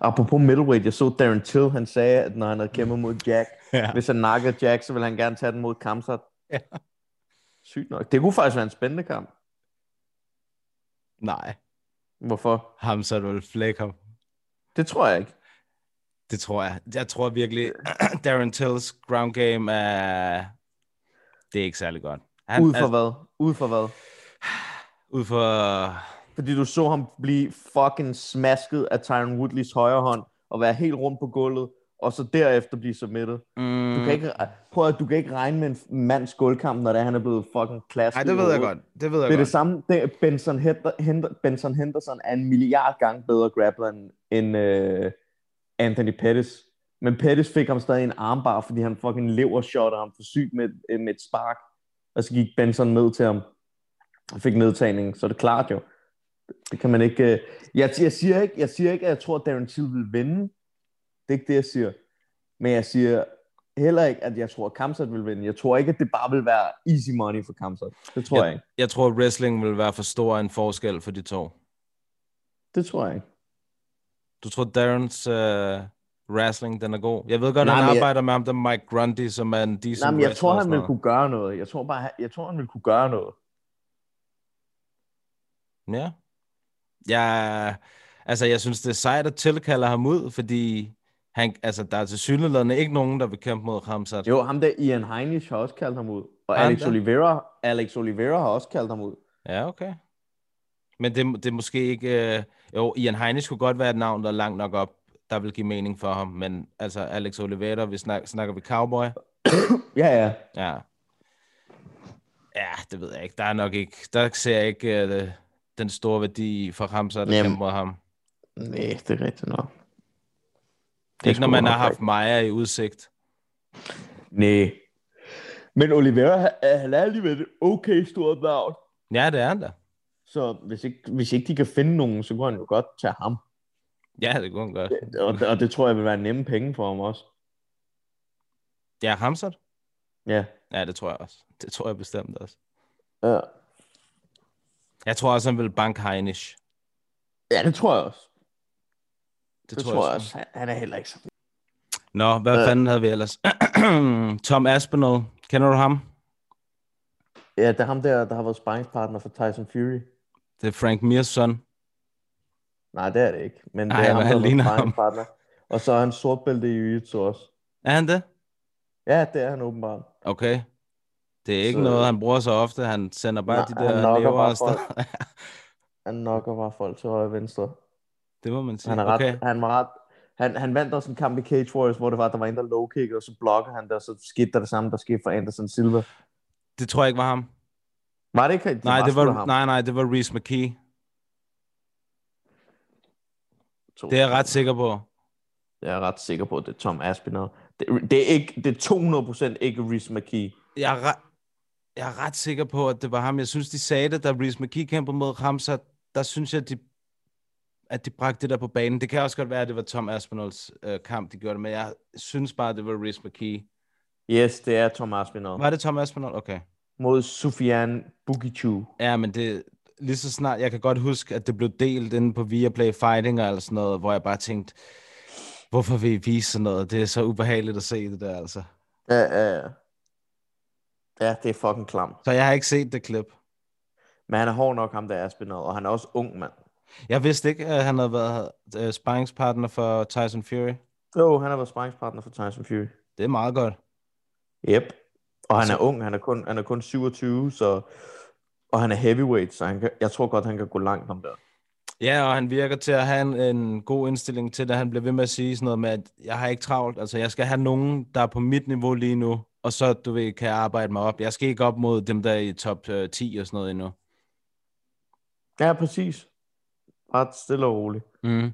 Apropos middleweight, jeg så Darren Till, han sagde, at når han havde kæmpet mod Jack, Mm. Ja. hvis han nakkede Jack, så ville han gerne tage den mod Kamsat. Ja. Sygt nok. Det kunne faktisk være en spændende kamp. Nej, Hvorfor? ham så vil flække ham. Det tror jeg ikke. Det tror jeg. Jeg tror virkelig, Darren Tills ground game er... Det er ikke særlig godt. Han, Ud for altså, hvad? Ud for hvad? ud for Fordi du så ham blive fucking smasket af Tyron Woodleys højre hånd, og være helt rundt på gulvet, og så derefter blive submittet. Mm, Du kan ikke, prøv at du kan ikke regne med en mands gulvkamp, når det er, han er blevet fucking klasket. Nej, i det ved jeg hovedet. godt. Det ved jeg Det er det godt. samme. Det er Benson, Henter, Henter, Benson Henderson er en milliard gange bedre grappler end, end øh, Anthony Pettis. Men Pettis fik ham stadig en armbar, fordi han fucking levershotter ham for sygt med, øh, med et spark. Og så gik Benson ned til ham og fik nedtagningen. Så er det klart jo. Det kan man ikke... Øh... Jeg, jeg, siger ikke jeg siger ikke, at jeg tror, at Darren Till vil vinde. Det er ikke det, jeg siger. Men jeg siger, heller ikke, at jeg tror, at Kamsat vil vinde. Jeg tror ikke, at det bare vil være easy money for Kamsat. Det tror jeg, jeg ikke. Jeg tror, at wrestling vil være for stor en forskel for de to. Det tror jeg ikke. Du tror, Darrens øh, wrestling, den er god? Jeg ved godt, Nej, Nej, han men jeg- arbejder jeg... med ham, der Mike Grundy, som er en decent Nej, men jeg wrestler tror, og han sådan vil noget. kunne gøre noget. Jeg tror, bare, han- jeg tror, han vil kunne gøre noget. Ja. Jeg, altså, jeg synes, det er sejt at tilkalde ham ud, fordi han, altså, der er til synligheden ikke nogen, der vil kæmpe mod Ramsat. Jo, ham der Ian Heinisch har også kaldt ham ud. Og Har han Alex det? Oliveira, Alex Oliveira har også kaldt ham ud. Ja, okay. Men det, det er måske ikke... Øh, jo, Ian Heine skulle godt være et navn, der er langt nok op, der vil give mening for ham. Men altså, Alex Oliveira, vi snak, snakker vi cowboy. Ja, ja. Ja. Ja, det ved jeg ikke. Der er nok ikke... Der ser jeg ikke øh, den store værdi for Ramsat, der Jamen, kæmper mod ham. Det Nej, det er rigtigt nok. er ikke, når sgu man nok har haft Maja i udsigt. Nej. Men Oliveira, han- han er alligevel et okay stort navn. Ja, det er han da. Så hvis ikke, hvis ikke de kan finde nogen, så kunne han jo godt tage ham. Ja, det kunne han godt. Og, og det tror jeg vil være nemme penge for ham også. Ja, Ramsat? Ja. Ja, det tror jeg også. Det tror jeg bestemt også. Ja, Jeg tror også, han vil banke Heinisch. ja det tror jeg også. Det, Det, det tror, tror jeg sgu. også. Han- Han er heller ikke så... Nå, hvad Øh. fanden havde vi ellers? Tom Aspinall, kender du ham? Ja, det er ham der, der har været sparringspartner for Tyson Fury. Det er Frank Mears søn. Nej, det er det ikke. Men det Ej, er hvor ham, han der ligner ligner ham. partner. Og så er han sortbælte i jiu også. Er han det? Ja, det er han åbenbart. Okay. Det er ikke Så- noget, han bruger så ofte. Han sender bare Nej, de han der knocker lever bare afsted. Han nokker bare folk til højre og venstre. det må man sige. Han, er ret, Okay. han var ret... Han, han vandt også en kamp i Cage Warriors, hvor det var, der var en, der low kick, og så blokker han der, så skete der det samme, der skete for Anderson Silva. Det tror jeg ikke var ham. Var det ikke? Det nej, det sgu da var, ham. nej, nej, det var Reese McKee. To. Det er jeg ret sikker på. Jeg er ret sikker på, at det er Tom Aspinall. Det, det, er, ikke, det er 200% ikke Reese McKee. Jeg er, ret, jeg er ret sikker på, at det var ham. Jeg synes, de sagde det, da Reese McKee kæmpede mod Ramsat. Der synes jeg, at de, at de bragte det der på banen. Det kan også godt være, at det var Tom Aspinalls øh, kamp, de gjorde det, men jeg synes bare, at det var Reese McKee. Yes, det er Tom Aspinall. Var det Tom Aspinall? Okay. Mod Sufian Bukichu. Ja, men det lige så snart, jeg kan godt huske, at det blev delt inde på Viaplay Fighting og sådan noget, hvor jeg bare tænkte, hvorfor vil I vise sådan noget? Det er så ubehageligt at se det der, altså. Ja, ja, ja. Ja, det er fucking klamt. Så jeg har ikke set det klip. Men han er hård nok, ham der Aspinall, og han er også ung, mand. Jeg vidste ikke, at han havde været øh, sparringspartner for Tyson Fury. Jo, han har været sparringspartner for Tyson Fury. Det er meget godt. Yep. Og han er ung, han er kun, han er kun 27, så... Og han er heavyweight, så han kan, jeg tror godt, han kan gå langt om der. Ja, og han virker til at have en, en god indstilling til det. Han bliver ved med at sige sådan noget med, at jeg har ikke travlt. Altså, jeg skal have nogen, der er på mit niveau lige nu, og så, du ved, kan jeg arbejde mig op. Jeg skal ikke op mod dem, der er i top øh, 10 og sådan noget endnu. Ja, præcis. Ret stille og roligt. Mm.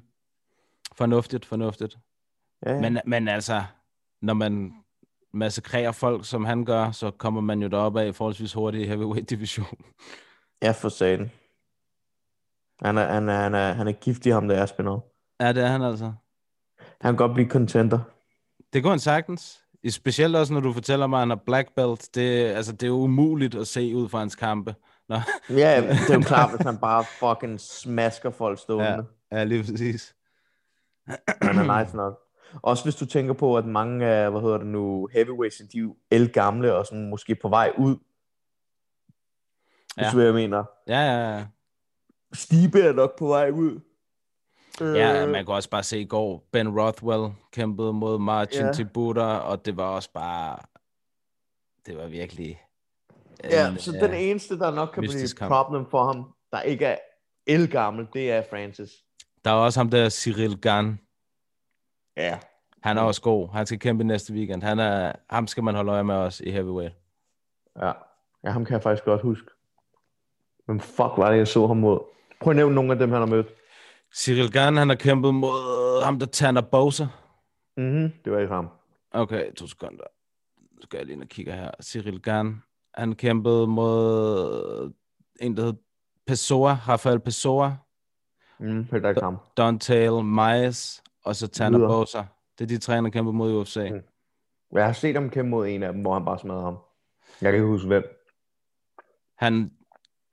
Fornuftigt, fornuftigt. Ja, ja. Men, men altså, når man massakrerer folk, som han gør, så kommer man jo deroppe af forholdsvis hurtigt i heavyweight-division. Ja, for satan. Han er, han er, han er, han er giftig, ham der Aspinall. Ja, det er han altså. Han kan godt blive contender. Det kunne han sagtens. I- Specielt også, når du fortæller mig, at han har black belt. Det, altså, det er jo umuligt at se ud fra hans kampe. Nå. Ja, det er jo klart, hvis han bare fucking smasker folk stående. Ja. ja, lige præcis. Han er nice nok. Også hvis du tænker på, at mange af, hvad hedder det nu, heavyweights, de er jo elgamle og sådan måske på vej ud. Hvis Ja. ja. du ved, hvad jeg mener. Ja, ja, ja. Stibe er nok på vej ud. Ja, Øh, man kunne også bare se i går, Ben Rothwell kæmpede mod Martin Ja. yeah. Tibuta, og det var også bare, det var virkelig... ja, en, så øh, den eneste, der nok kan blive mystisk et kamp. problem for ham, der ikke er elgammel, det er Francis. Der er også ham der, Cyril Gann. Ja. Han er også god. Han skal kæmpe næste weekend. Han er, ham skal man holde øje med også i heavyweight. Ja. ja, ham kan jeg faktisk godt huske. Men fuck, var det, jeg så ham mod. Prøv at nævne nogle af dem, han har mødt. Cyril Gann, han har kæmpet mod ham der, Tanner Bowser. Mhm, det var ikke ham. Okay, to sekunder. Nu skal jeg lige ind og kigge her. Cyril Gann, han kæmpede mod en, der hed Pessoa, Rafael Pessoa, Mhm, Mm, heller ikke ham. Don Tale, Maes, og så Tanner Videre. Bowser. Det er de tre, han har kæmpet mod i UFC. Mm. Jeg har set ham kæmpe mod en af dem, hvor han bare smadrede ham. Jeg kan ikke huske, hvem. Han,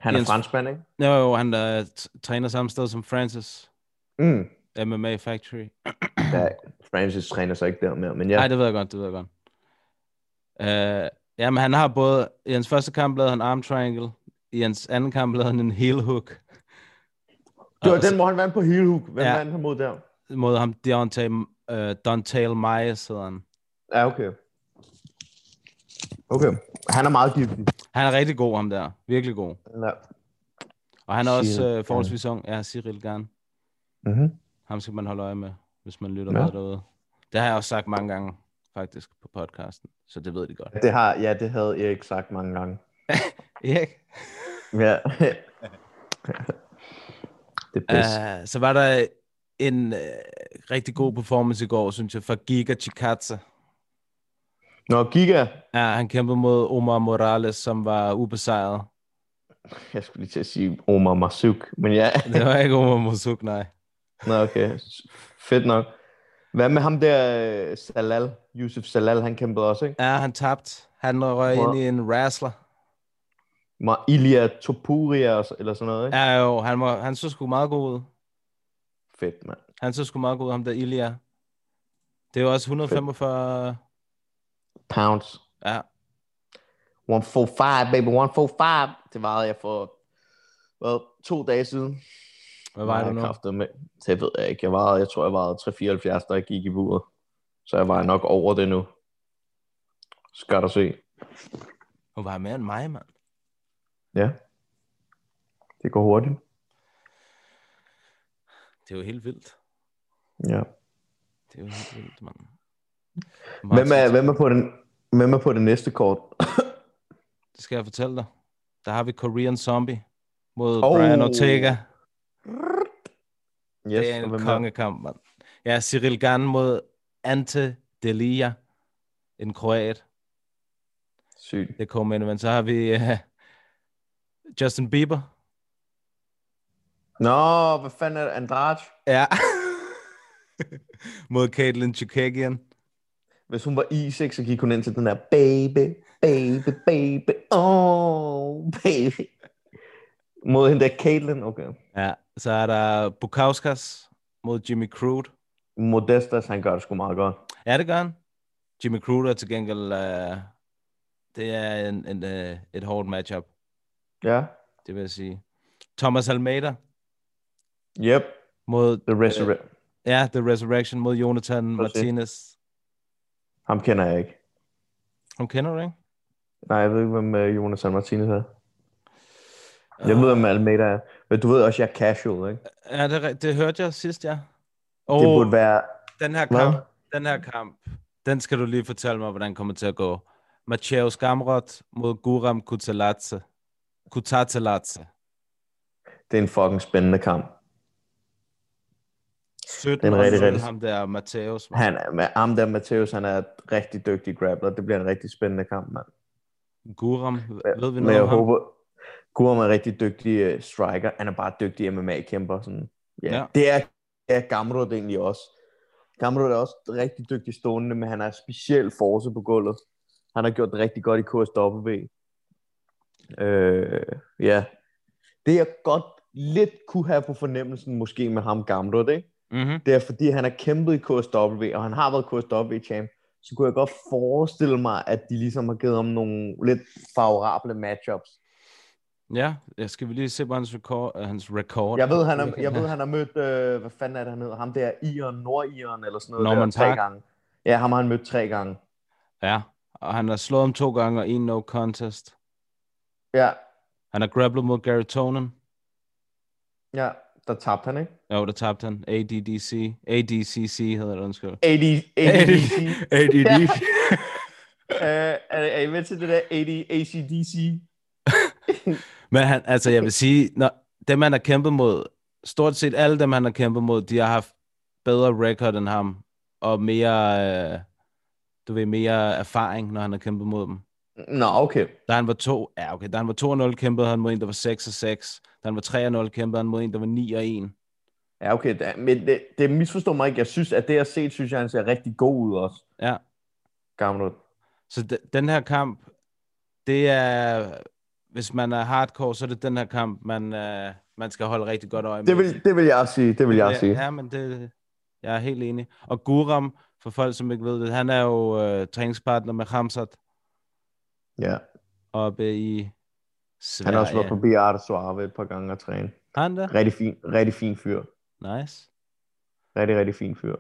Han er Jens- franskmand, ikke? jo, jo, han øh, t- træner samme sted som Francis. Mm. MMA Factory. Ja, Francis træner sig ikke der mere, men Ja. ja. Nej, det ved jeg godt, det ved jeg godt. Øh, jamen, han har både... I hans første kamp lavede han arm triangle. I hans anden kamp lavede han en heel hook. Det var Og så- den, hvor han vandt på heel hook. Hvem Ja. ja. vandt han mod der? Mod ham, Deontay, uh, Dontail Myers hedder han. Ja, okay. Okay. Han er meget giftig. Han er rigtig god, ham der. Virkelig god. Ja. Og han er Cyril også Garn. øh, forholdsvis ung. Ja, Cyril Garn. Mm-hmm. Ham skal man holde øje med, hvis man lytter Ja. ja. med derude. Det har jeg også sagt mange gange, faktisk, på podcasten. Så det ved de godt. Det har, ja, det havde Erik sagt mange gange. Erik? Ja. det er bedst. Uh, så var der en uh, rigtig god performance i går, synes jeg, fra Giga Chikatsa. Nå, Giga. Ja, han kæmpede mod Omar Morales, som var ubesejret. Jeg skulle lige til at sige Omar Masuk, men ja. Det var ikke Omar Mosuk, nej. Nå, okay. Fedt nok. Hvad med ham der, øh, Salal? Yusuf Salal, han kæmpede også, ikke? Ja, han tabte. Han røg Hvor- ind i en wrestler. Med Ilya Topuria og s- eller sådan noget, ikke? Ja. Ja, jo, han, var, han så sgu meget god ud. Fedt, mand. Han så sgu meget god ud, ham der Ilya. Det er jo også 145... Pounds. Ja, 145, baby, 145. Det varede jeg for well, to dage siden. hvad var det nu? Kræftet med. Det ved jeg ikke. Jeg, varede, jeg tror, jeg varede 374, da jeg gik i buret. Så jeg var nok over det nu. Skal du se. Hun var mere end mig, mand. Ja. Det går hurtigt. Det er jo helt vildt. Ja. Det er jo helt vildt, mand. Hvem er, hvem er, på, den, hvem er på det næste kort? Det skal jeg fortælle dig. Der har vi Korean Zombie mod Oh. oh. Brian Ortega. Yes, det er og en hvem kongekamp, mand. Ja, Cyril Gan mod Ante Delia, en kroat. Sygt. Det kommer ind, men så har vi uh, Justin Bieber. Nå, hvad fanden er det? Andrade? Ja. mod Caitlin Chukagian. Hvis hun var i6, så gik hun ind til den der baby, baby, baby, oh, baby. Mod hende der Caitlyn, okay. Ja, så er der Bukauskas mod Jimmy Crude. Modestas, han gør det sgu meget godt. Ja, det gør han. Jimmy Crude er til gengæld, uh, det er en, en, uh, et hårdt matchup, Ja. det vil jeg sige. Thomas Almeida Yep, mod The Resurrect. Ja, The Resurrection mod Jonathan Prøv at se. Martinez. Ham kender jeg ikke. Hun kender du, ikke? Nej, jeg ved ikke, hvem øh, Jonathan Martinez er. Jeg ved, hvem Almeida er. Men du ved også, jeg er casual, ikke? Ja, det, er ri- det hørte jeg sidst, ja. Og Det burde være... den her Hvad? kamp, den her kamp, den skal du lige fortælle mig, hvordan kommer til at gå. Mateusz Gamrot mod Guram Kutalatse. Kutatelatse. Det er en fucking spændende kamp. 17 Den er rigtig, år rigtig- ham der, Mateusz. mand. Han er, med ham der Mateus, han er et rigtig dygtig grappler. Det bliver en rigtig spændende kamp, mand. Guram, ved vi Men noget jeg om ham? håber, Gurum er en rigtig dygtig øh, striker. Han er bare dygtig MMA-kæmper. Sådan. Ja. Ja. ja. Det er, er Gamrod egentlig også. Gamrod er også rigtig dygtig stående, men han har speciel force på gulvet. Han har gjort det rigtig godt i KSW. Øh, ja. Det jeg godt lidt kunne have på fornemmelsen måske med ham Gamrod, ikke? Mm-hmm. det er fordi, han har kæmpet i KSW, og han har været KSW-champ, så kunne jeg godt forestille mig, at de ligesom har givet ham nogle lidt favorable matchups. Ja, jeg skal vi lige se på hans rekord. øh, Hans rekord. Jeg ved, han har, jeg ved, han har mødt, øh, hvad fanden er det, han hedder? Ham der Ion, Nordion eller sådan noget Norman der, tre Park. gange. Ja, ham har han mødt tre gange. Ja, og han har slået ham to gange og en no contest. Ja, Han har grapplet mod Gary Tonin. ja, der tabte han, ikke? Jo, der tabte han. ADDC. ADCC hedder det, undskyld. AD, ADDC. ADDC. øh, er, er I med til det der AD, ACDC? Men han, altså, jeg vil sige, når dem, han har kæmpet mod, stort set alle dem, han har kæmpet mod, de har haft bedre record end ham, og mere, øh, du ved, mere erfaring, når han har kæmpet mod dem. Nå, okay. Da han var to, ja, okay, da han var 2-0, kæmpede han mod en, der var 6-6. Da han var 3-0, kæmpede han mod en, der var 9-1. Ja, okay, da, men det, det misforstår mig ikke. Jeg synes, at det, jeg har set, synes jeg, han ser rigtig god ud også. Ja. Gamle. Så de, den her kamp, det er, hvis man er hardcore, så er det den her kamp, man, øh, man skal holde rigtig godt øje med. Det vil, det vil jeg sige, det vil jeg ja, sige. Ja, men det, jeg er helt enig. Og Guram, for folk som ikke ved det, han er jo øh, træningspartner med Hamzat Ja. oppe i Sverige. Han har også været forbi Arte Suave et par gange og træne. Har Han der? Rigtig fin, rigtig fin fyr. Nice. Rigtig, rigtig fin fyr.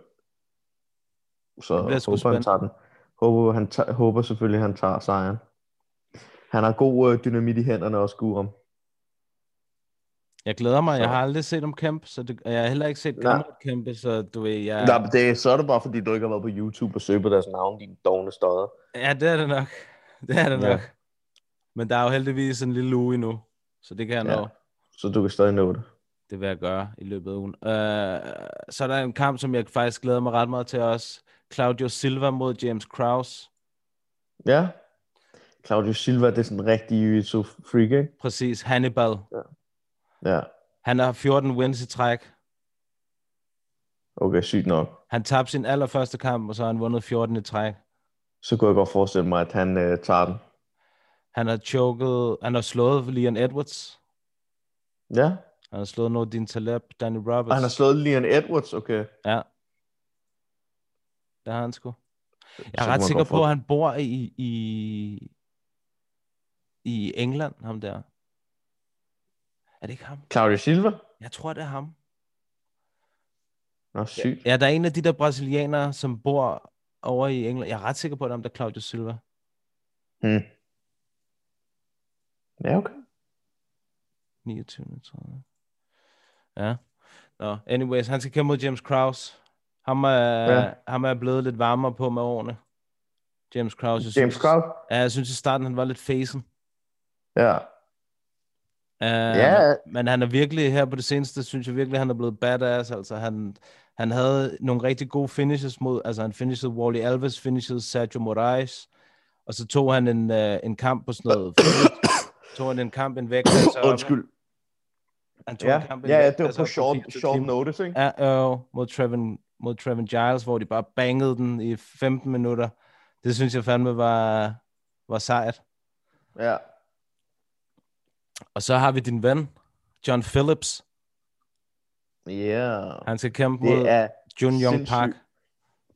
Så Det bliver sgu håber spændende. han tager den. Håber, han tager, håber selvfølgelig, han tager sejren. Han har god øh, dynamit i hænderne også, Guram. Jeg glæder mig. Jeg Så. har aldrig set ham kæmpe, så det, og jeg har heller ikke set Nej. Kamrat kæmpe, så du ved, jeg... Ja. Nej, det, så er det bare, fordi du ikke har været på YouTube og søgt på deres navn, din dogne stodder. Ja, det er det nok. Det er det Ja. nok. Men der er jo heldigvis en lille uge endnu, så det kan jeg Ja. ja. nå. Så du kan stadig nå det. Det vil jeg gøre i løbet af ugen. Øh, så er der en kamp, som jeg faktisk glæder mig ret meget til også. Claudio Silva mod James Kraus. Ja. Claudio Silva, det er sådan en rigtig jiu-jitsu-freak, ikke? Præcis, Hannibal. Ja. Han har 14 wins i træk. Okay, sygt nok. Han tabte sin allerførste kamp, og så har han vundet 14 i træk. Så kunne jeg godt forestille mig, at han øh, tager den. Han har choket, han har slået Leon Edwards. Ja. Han har slået Nordin Taleb, Danny Og Roberts. han har slået Leon Edwards, okay. Ja. Der har han sgu. Jeg kunne er man ret sikker godt på, at han bor i, i, i England, ham der. Er det ikke ham? Claudio Silva? Jeg tror, det er ham. Nå, sygt. Ja, der er en af de der brasilianere, som bor over i England. Jeg er ret sikker på, at det er ham der er Claudio Silva. Ja, okay. 29, tror jeg. Ja. Nå, anyways, han skal kæmpe mod James Kraus. Ham er, Ja. ja. ham er jeg blevet lidt varmere på med årene. James Kraus. Jeg James synes, Kraut? Ja, jeg synes i starten, han var lidt facen. Ja. Uh, Ja. Men han er virkelig, her på det seneste, synes jeg virkelig, han er blevet badass. Altså, han, han havde nogle rigtig gode finishes mod, altså han finishede Wally Alves, finishede Sergio Moraes, og så tog han en, uh, en kamp på sådan noget, tog han en kamp, en vægt, Undskyld. Han tog Ja, en kamp, en ja, ja, vægt, det var altså, på short, 24 short timer. notice, ikke? Ja, jo, mod Trevin, mod Trevin Giles, hvor de bare bangede den i 15 minutter. Det synes jeg fandme var, var sejt. Ja. Og så har vi din ven, John Phillips. Ja. Han skal kæmpe Det mod er, Jun Young sindssygt. Park.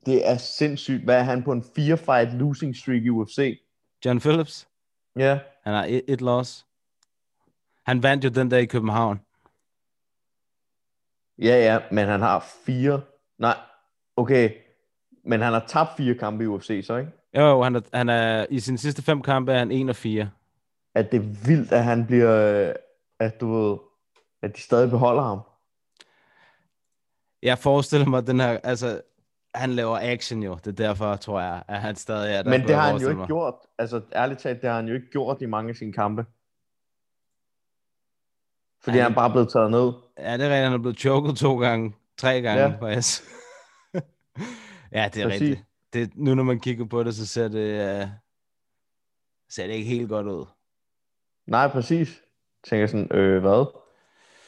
det er sindssygt. Hvad er han på en 4-fight losing streak i UFC? John Phillips, Ja. han har et, et loss. Han vandt jo den dag i København. Ja, ja, men han har fire... Nej, okay. Men han har tabt fire kampe i UFC, så ikke? Jo, jo, han er, han er, i sine sidste fem kampe er han 1 og 4. At det er vildt, at han bliver... øh, At du ved... At de stadig beholder ham. Jeg forestiller mig, at den her, altså, han laver action jo. Det er derfor, tror jeg, at han stadig er der. Men kunne det jeg har han jo forestille ikke mig. gjort. Altså, ærligt talt, det har han jo ikke gjort i mange af sine kampe. Fordi Ej. han bare er blevet taget ned. Ja, det er rigtigt. Han er blevet choket to gange, tre gange Ja. ja. faktisk. ja, det er Præcis. rigtigt. Det, nu når man kigger på det, så ser det, uh, ser det ikke helt godt ud. Nej, præcis. Tænker sådan, øh, hvad?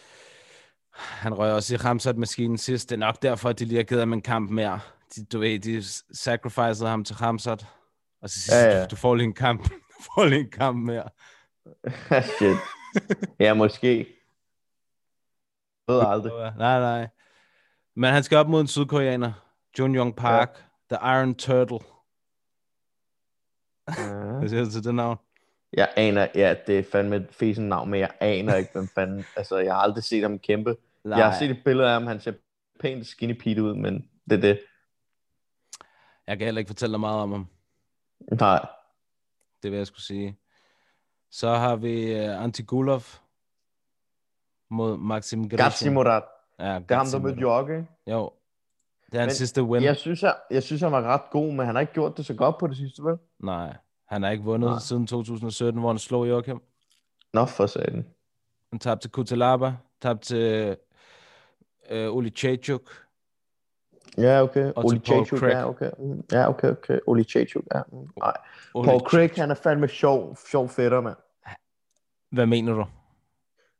Han røg også i Ramsat-maskinen sidst. Det er nok derfor, at de lige har givet ham en kamp mere. De, du ved, de sacrificede ham til Ramsat. Og så siger Ja, ja, ja. ja. Du, du får lige en kamp. Du får lige en kamp mere. Shit. Ja, måske. Ved aldrig. Nej, nej. Men han skal op mod en sydkoreaner. Jun Young Park. Ja. The Iron Turtle. Hvad siger du til det navn? Jeg aner, ja, det er fandme et fesen navn, men jeg aner ikke, hvem fanden... Altså, jeg har aldrig set ham kæmpe. Nej. Jeg har set et billede af ham, han ser pænt skinny pete ud, men det er det. Jeg kan heller ikke fortælle dig meget om ham. Nej. Det vil jeg skulle sige. Så har vi uh, Antigulov mod Maxim Grishin. Gatsimorat. Ja, Det er ham, der mødte Gatsimoto. Jorge. Jo. Det er hans Men sidste win. Jeg synes, jeg, jeg synes, han var ret god, men han har ikke gjort det så godt på det sidste, vel? Nej, han har ikke vundet Nej. Nej. siden 2017, hvor han slog Joachim. Nå, for satan. Han tabte til Kutalaba, tabte til øh, Oli Chechuk. Ja, okay. Og Oli til Paul Chachuk, Craig. ja, okay. Mm, Ja, okay, okay. Oli Chachuk, ja. Mm, Nej. Oli... Paul Craig, han er fandme sjov, sjov fætter, mand. Hvad mener du?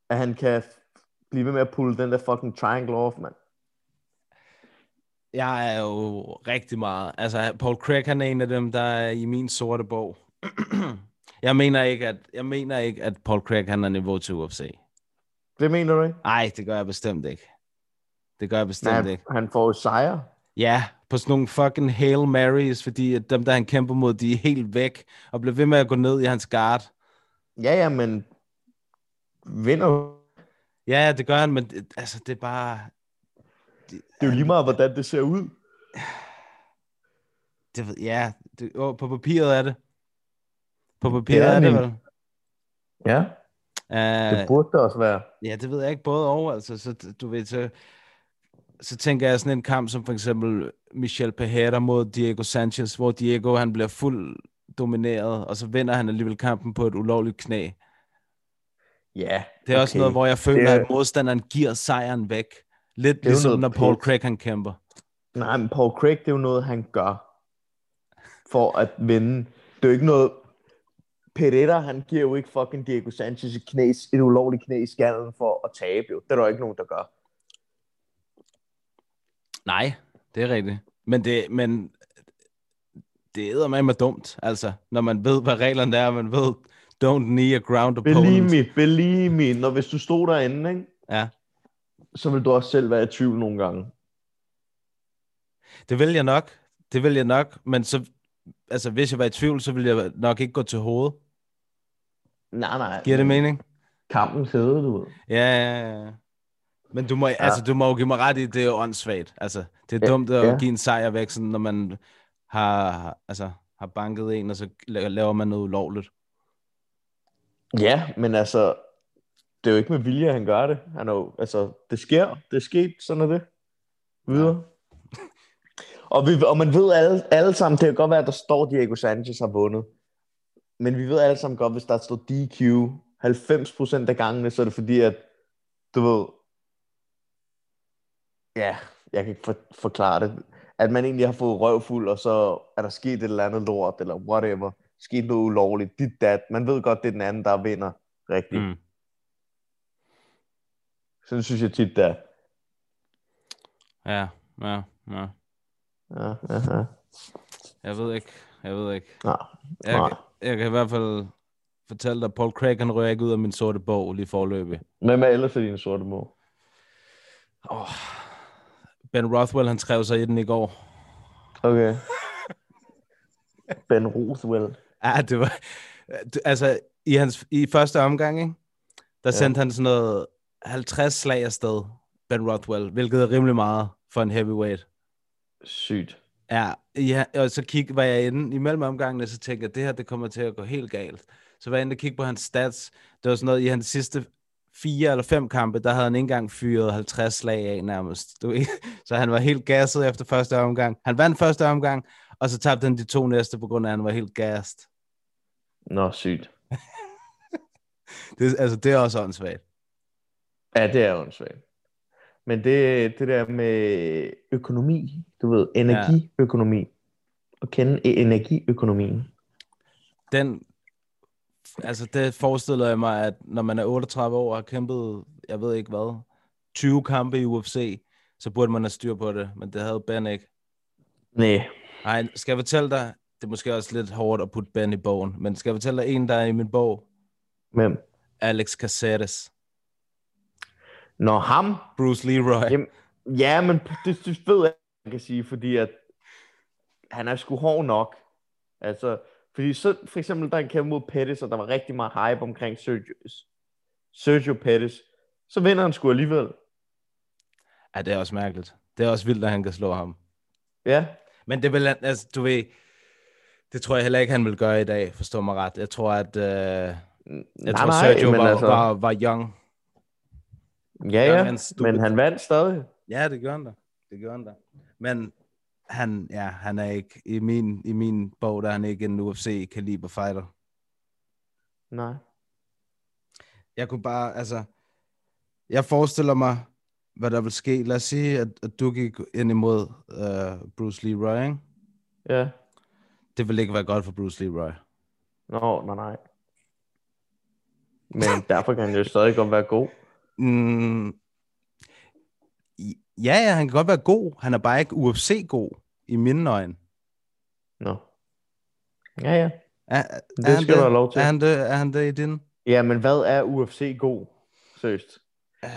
At han kan blive ved med at pulle den der fucking triangle off, mand. jeg er jo rigtig meget. Altså, Paul Craig, han er en af dem, der er i min sorte bog. jeg, mener ikke, at, jeg mener ikke, at Paul Craig, han er niveau til UFC. Det mener du ikke? Nej, det gør jeg bestemt ikke. Det gør jeg bestemt Han, ikke. han får jo sejre. Ja, på sådan nogle fucking Hail Marys, fordi at dem, der han kæmper mod, de er helt væk, og bliver ved med at gå ned i hans guard. Ja, ja, men vinder jo. Ja, ja, det gør han, men det, altså, det er bare... Det er jo lige meget, hvordan det ser ud. Det, ved- ja, det, åh, på papiret er det. På papiret er er det nemt. vel. Ja, Uh, det burde det også være. Ja, det ved jeg ikke både over. Altså, så, t- du ved, så, så tænker jeg sådan en kamp som for eksempel Michel Pereira mod Diego Sanchez, hvor Diego han bliver fuld domineret, og så vinder han alligevel kampen på et ulovligt knæ. Ja, Det er okay. også noget, hvor jeg føler, Det er- at modstanderen giver sejren væk. Lidt jo ligesom noget når Paul pis. Craig han kæmper. Nej, men Paul Craig, det er jo noget, han gør for at vinde. Det er jo ikke noget... Pereira, han giver jo ikke fucking Diego Sanchez et, knæ, et ulovligt knæ i skallen for at tabe. Jo. Det er der jo ikke nogen, der gør. Nej, det er rigtigt. Men det, men det æder mig med dumt, altså. Når man ved, hvad reglerne er, og man ved, don't knee a ground Believe opponent. me, believe me. Når hvis du stod derinde, ikke? Ja. så vil du også selv være i tvivl nogle gange. Det vil jeg nok. Det vil jeg nok. Men så, altså, hvis jeg var i tvivl, så ville jeg nok ikke gå til hovedet. Nej, nej. Giver det mening? Kampen fede, du ved. Ja, ja, ja. Men du må, ja. altså, du må jo give mig ret i, det er jo åndssvagt. Altså, det er ja, dumt at ja. ja. give en sejr væk, sådan, når man har, altså, har banket en, og så la- laver man noget ulovligt. Ja, men altså, det er jo ikke med vilje, han gør det. Han er jo, altså, det sker, det er sket, sådan er det. Videre. Og, vi, og man ved alle, alle sammen, det kan godt være, at der står, Diego Sanchez har vundet. Men vi ved alle sammen godt, hvis der står DQ 90% af gangene, så er det fordi, at du ved, ja, jeg kan ikke for, forklare det, at man egentlig har fået røvfuld, og så er der sket et eller andet lort, eller whatever, sket noget ulovligt, dit dat, man ved godt, det er den anden, der vinder rigtigt. Mm. Mm. Sådan synes jeg tit, det er. Ja, ja, ja. Ja, ja, ja. Jeg ved ikke. Jeg ved ikke. Nej, Jeg, nej. jeg kan i hvert fald fortælle dig, at Paul Craig, han rører ikke ud af min sorte bog lige forløbig. Hvem er ellers i din sorte mor? Oh. Ben Rothwell, han skrev sig i den i går. Okay. ben Rothwell. Ja, det var... Du, altså, i, hans, i første omgang, ikke? der ja. sendte han sådan noget 50 slag afsted, Ben Rothwell, hvilket er rimelig meget for en heavyweight. Sygt. Ja, ja og så kig, var jeg inde imellem omgangene, så tænkte jeg, det her det kommer til at gå helt galt. Så var jeg inde og kigge på hans stats. Det var sådan noget, i hans sidste fire eller fem kampe, der havde han ikke engang fyret 50 slag af nærmest. Du ved. Så han var helt gasset efter første omgang. Han vandt første omgang, og så tabte han de to næste, på grund af, at han var helt gasset. Nå, sygt. Det, altså, det er også åndssvagt. Ja, det er åndssvagt. Men det, det der med økonomi, du ved, energiøkonomi. At kende e- energiøkonomien. Den, altså, det forestiller jeg mig, at når man er 38 år og har kæmpet, jeg ved ikke hvad, 20 kampe i UFC, så burde man have styr på det, men det havde Ben ikke. Nej. Nej, skal jeg fortælle dig, det er måske også lidt hårdt at putte Ben i bogen, men skal jeg fortælle dig en, der er i min bog? Hvem? Alex Caceres. Når ham? Bruce Leroy. Jamen, ja, men det, det ved jeg, man kan sige, fordi at han er sgu hård nok. Altså, fordi så, for eksempel, da han kæmpede mod Pettis, og der var rigtig meget hype omkring Sergio, Sergio Pettis, så vinder han sgu alligevel. Ja, det er også mærkeligt. Det er også vildt, at han kan slå ham. Ja, Men det vil han, altså, du ved, det tror jeg heller ikke, han vil gøre i dag, forstår mig ret. Jeg tror, at... Øh, Jeg nej, tror, nej, Sergio var, altså... var, var young. ja, Young ja, and stupid. men han vandt stadig. Ja, det gør han da. Det gør han da. Men han, ja, han er ikke, i min, i min bog, der er han ikke en UFC-kaliber fighter. Nej. Jeg kunne bare, altså, jeg forestiller mig, hvad der vil ske. Lad os sige, at, at du gik ind imod uh, Bruce Leroy, ikke? Ja. Det vil ikke være godt for Bruce Leroy. Nå, nej, nej. Men derfor kan han jo stadig godt være god. Mm, Ja, ja, han kan godt være god. Han er bare ikke UFC-god i mine øjne. Nå. Ja, ja. Er, Det er han skal du have lov til. Er han det, er han det i din? Ja, men hvad er UFC god? Seriøst.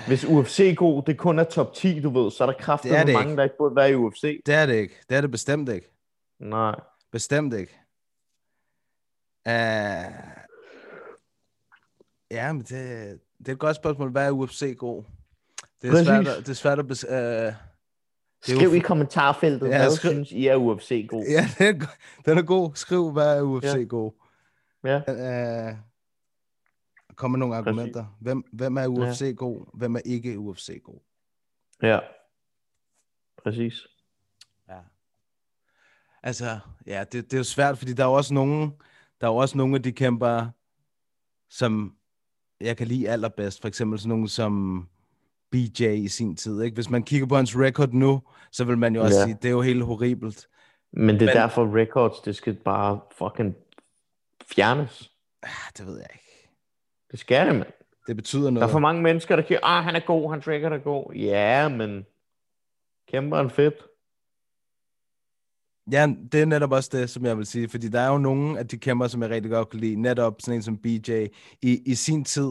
Hvis UFC god, det kun er top 10, du ved, så er der kraftigt Det er det mange, ikke. der ikke burde være i UFC. Det er det ikke. Det er det bestemt ikke. Nej. Bestemt ikke. Uh... Ja, men det, det er et godt spørgsmål. Hvad er UFC god? Det er Præcis. svært at, det er svært at bes... uh... Ja, er jo Skriv i fu- kommentarfeltet, Ja, ja, hvad skriv- synes I er UFC god? det er, go- den er god. Skriv, hvad er UFC ja. god? Ja. Uh... Kom med nogle Præcis. argumenter. Hvem, hvem er UFC ja. god? Hvem er ikke UFC god? ja. Præcis. Ja. Altså, ja, det, det er jo svært, fordi der er jo også nogen, der er jo også nogle af de kæmpere, som jeg kan lide allerbedst. For eksempel sådan nogen som BJ i sin tid. Ikke? Hvis man kigger på hans record nu, så vil man jo også Ja. ja. sige, det er jo helt horribelt. Men det er Men- men... derfor records, det skal bare fucking fjernes. Ah, det ved jeg ikke. Det skal det, mand. Det betyder Der noget. er for mange mennesker, der kigger, ah, han er god, hans record er god. Ja, men kæmper han fedt. Ja, det er netop også det, som jeg vil sige, fordi der er jo nogen af de kæmper, som jeg rigtig godt kan lide, netop sådan en som BJ. I, i sin tid,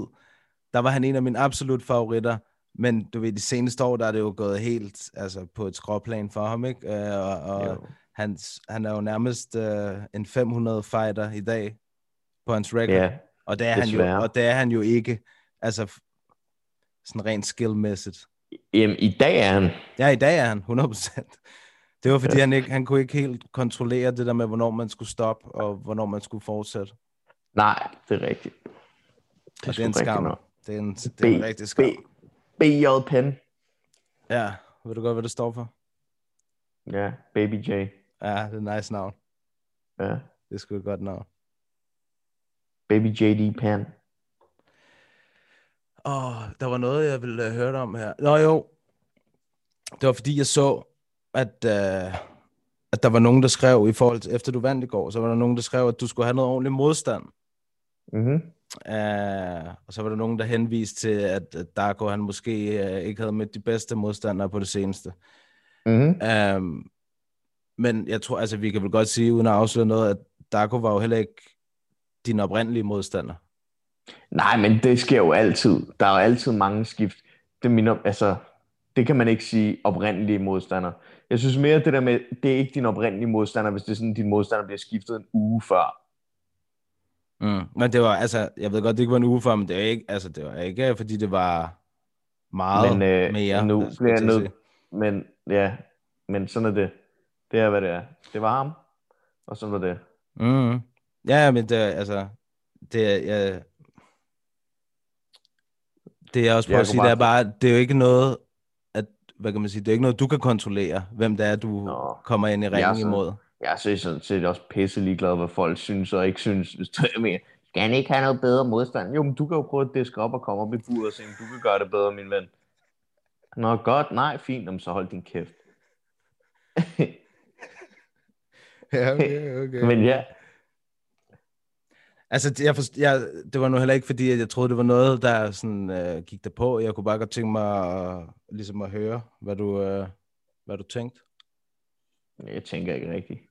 der var han en af mine absolut favoritter, men du ved, de seneste år, der er det jo gået helt altså, på et skråplan for ham, ikke? Øh, og og Jo. hans, han er jo nærmest øh, en 500-fighter i dag på hans record, Ja, og, det er han jo, desværre. og det er han jo ikke, altså f- sådan rent skillmæssigt. Jamen, i dag er han. Ja, i dag er han 100%. Det var fordi, han, ikke, han kunne ikke helt kontrollere det der med, hvornår man skulle stoppe, og hvornår man skulle fortsætte. Nej, det er rigtigt. Det, det sgu er en rigtigt skam. nok. Det er en, det er en rigtig skam. B, BJ Penn. Ja, ved du godt, hvad det står for? Ja, Baby J. Ja, det er et nice navn. Ja, Det er sgu et godt navn. Baby JD Penn. Åh, der var noget, jeg ville uh, høre dig om her. Nå jo, det var fordi, jeg så, at, uh, at der var nogen, der skrev i forhold til, efter du vandt i går, så var der nogen, der skrev, at du skulle have noget ordentlig modstand. Mm-hmm. Uh, og så var der nogen, der henviste til, at, at Darko han måske uh, ikke havde mødt de bedste modstandere på det seneste. Mm-hmm. Um, men jeg tror, altså vi kan vel godt sige, uden at afsløre noget, at Darko var jo heller ikke din oprindelige modstander. Nej, men det sker jo altid. Der er jo altid mange skift. Det, minder, altså, det kan man ikke sige oprindelige modstander. Jeg synes mere det der med, det er ikke din oprindelige modstander, hvis det er sådan, din modstander bliver skiftet en uge før. Mm. Men det var, altså, jeg ved godt, det ikke var en uge før, men det var ikke, altså, det var ikke fordi det var meget Men øh, mere. nu skulle bliver jeg til at nødt. sige. Men ja, men sådan er det. Det er, hvad det er. Det var ham, og sådan var det. Mm. Ja, men det, altså, det, jeg, det jeg også prøver at Jeg kunne sige, det er bare- bare, det er jo ikke noget, at, hvad kan man sige, det er ikke noget, du kan kontrollere, hvem det er, du Nå. kommer ind i Jeg er ringen sådan- imod. Jeg er så- sådan set også pisse ligeglad, hvad folk synes og ikke synes. Hvis du er mere, skal han ikke have noget bedre modstand? Jo, men du kan jo prøve at diske op og komme op i buret og se, om du kan gøre det bedre, min ven. Nå, godt. Nej, fint. Jamen, så hold din kæft. Ja, okay, okay. Men ja, Altså, det- jeg forst- jeg, det var nu heller ikke, fordi at jeg troede, det var noget, der sådan, øh, gik dig på. Jeg kunne bare godt tænke mig at, ligesom at høre, hvad du, øh, hvad du tænkte. jeg tænker ikke rigtigt.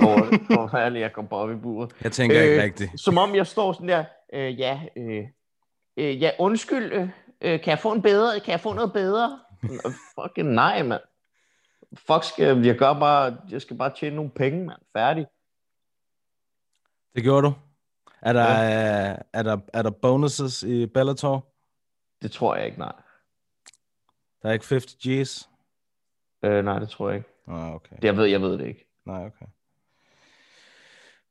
Hvor- Hvor fanden jeg kom op i buret. Jeg tænker øh, ikke Øh, rigtigt. Som om jeg står sådan der, øh, ja, øh, øh, ja, undskyld, øh, øh, kan jeg få en bedre, kan jeg få noget bedre? Nå, fucking nej, mand. Fuck, skal, jeg, gør bare, jeg skal bare tjene nogle penge, mand. Færdig. Det gjorde du. Er der, øh, er der, er der bonuses i Bellator? Det tror jeg ikke, nej. Der er ikke 50 G's? Øh, nej, det tror jeg ikke. Nej, Ah, okay. Jeg ved, jeg ved det ikke. Nej, okay.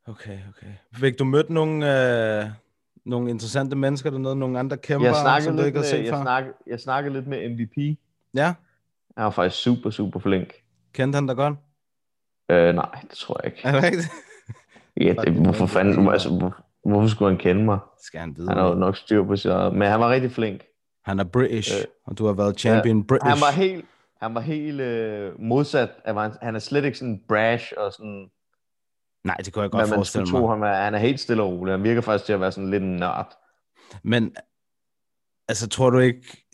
Okay, okay. Fik du mødt nogle, øh, nogle interessante mennesker dernede? Nogle andre kæmper, Jeg snakkede, som du lidt ikke har med, set jeg, før? snakkede, jeg snakkede lidt med MVP. Ja, Han var faktisk super, super flink. kendte han dig godt? Øh, nej, det tror jeg ikke. Er det rigtigt? Ja, det, hvorfor fanden, altså, hvor, hvorfor skulle han kende mig? Det skal han vide. Han har jo nok styr på sig. Men han var rigtig flink. Han er British, Øh, øh, og du har været champion ja, British. Han var helt, han var helt øh, modsat. Han, var, han er slet ikke sådan brash og sådan, Nej, det kunne jeg hvad godt man forestille skulle mig. tro, han er. Han er helt stille og rolig. Han virker faktisk til at være sådan lidt en nørd. Men altså, tror du ikke,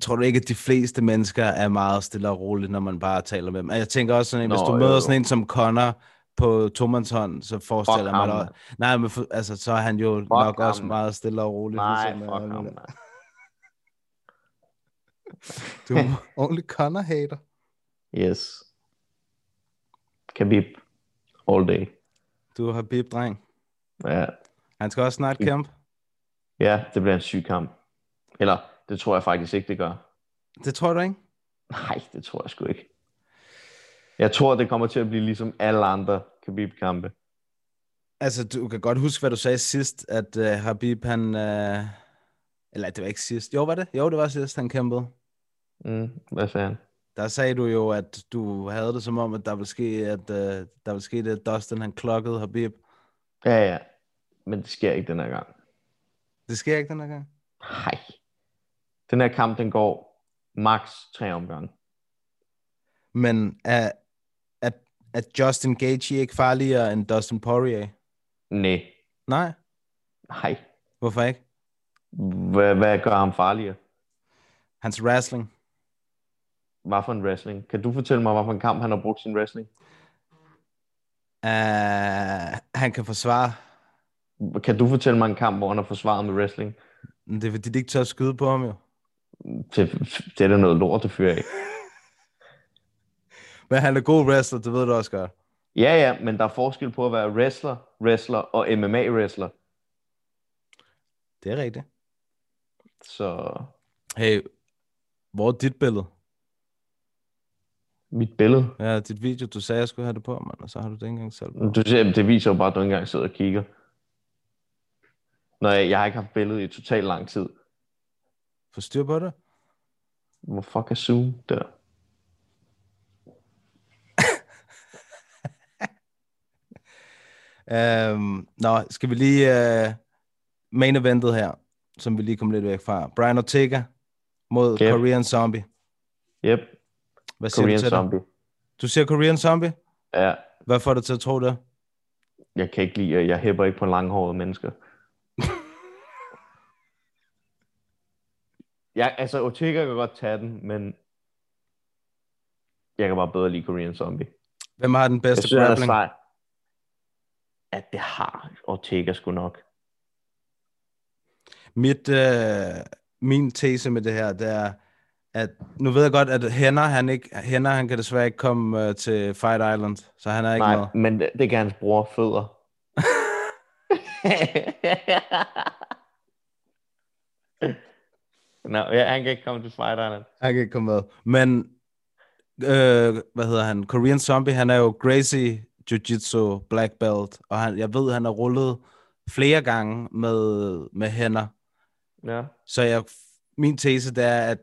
tror du ikke, at de fleste mennesker er meget stille og roligt, når man bare taler med dem? Og Jeg tænker også sådan en, Nå, hvis Nå, du jo, møder jo. sådan en som Connor på tomandshånd, så forestiller jeg mig ham. dig... Nej, men for, altså, så er han jo fuck nok ham. også meget stille og roligt. Nej, ligesom, fuck øh, ham. Du er ordentlig Connor-hater. Yes. Khabib. All day. Du har bip, dreng. Ja. Han skal også snart kæmpe. ja, det bliver en syg kamp. Eller, det tror jeg faktisk ikke, det gør. Det tror du ikke? Nej, det tror jeg sgu ikke. Jeg tror, det kommer til at blive ligesom alle andre Khabib-kampe. Altså, du kan godt huske, hvad du sagde sidst, at uh, Habib, han... Uh... Eller det var ikke sidst. Jo, var det? Jo, det var sidst, han kæmpede. Mm, hvad sagde han? Der sagde du jo, at du havde det som om, at der ville ske, at, uh, der ville ske det, at Dustin, han klokkede Habib. Ja, ja. Men det sker ikke den her gang. Det sker ikke den her gang. Nej. Den her kamp, den går max tre omgange. Men er, er, er Justin Gaethje ikke farligere end Dustin Poirier? Nej. Nej, Nej. hvorfor ikke? Hvad, hvad gør ham farligere? Hans wrestling. Hvad for en wrestling? Kan du fortælle mig, hvad for en kamp han har brugt sin wrestling? Uh, han kan forsvare. Kan du fortælle mig en kamp, hvor han har forsvaret med wrestling? Men Det er fordi, de ikke tør at skyde på ham jo. Det, det er da noget lort, det fyrer af. Men han er god wrestler, det ved du også godt. Ja, ja, men der er forskel på at være wrestler, wrestler og MMA-wrestler. Det er rigtigt. Så Hey, hvor er dit billede? mit billede. Ja, dit video, du sagde, jeg skulle have det på, mand, og så har du det ikke engang selv. på. Du ser, det viser jo bare, at du ikke engang sidder og kigger. Nej, jeg har ikke haft billedet i totalt lang tid. Få styr på det. Hvor fuck er Zoom der? Øhm, nå, skal vi lige øh, main eventet her, som vi lige kom lidt væk fra. Brian Ortega mod Yep. Korean Zombie. Yep, Hvad siger Korean du til det? Zombie. Du siger Korean Zombie? Ja, Hvad får dig til at tro det? jeg kan ikke lide, jeg hæpper ikke på langhårede mennesker. jeg, altså, Ortega kan godt tage den, men jeg kan bare bedre lide Korean Zombie. Hvem har den Jeg bedste synes, han er grappling? sej. At det har Ortega sgu nok. Mit, øh, min tese med det her, det er, at nu ved jeg godt, at Henner, han, ikke, Henner, han kan desværre ikke komme øh, til Fight Island, så han er ikke Nej, med. men det, det kan hans bror fødder. Nå, ja, han kan ikke komme til Fight Island. Han kan ikke komme med. Men, øh, hvad hedder han? Korean Zombie, han er jo Gracie Jiu-Jitsu Black Belt, og han, jeg ved, han har rullet flere gange med, med hænder. Ja. Så jeg, min tese, det er, at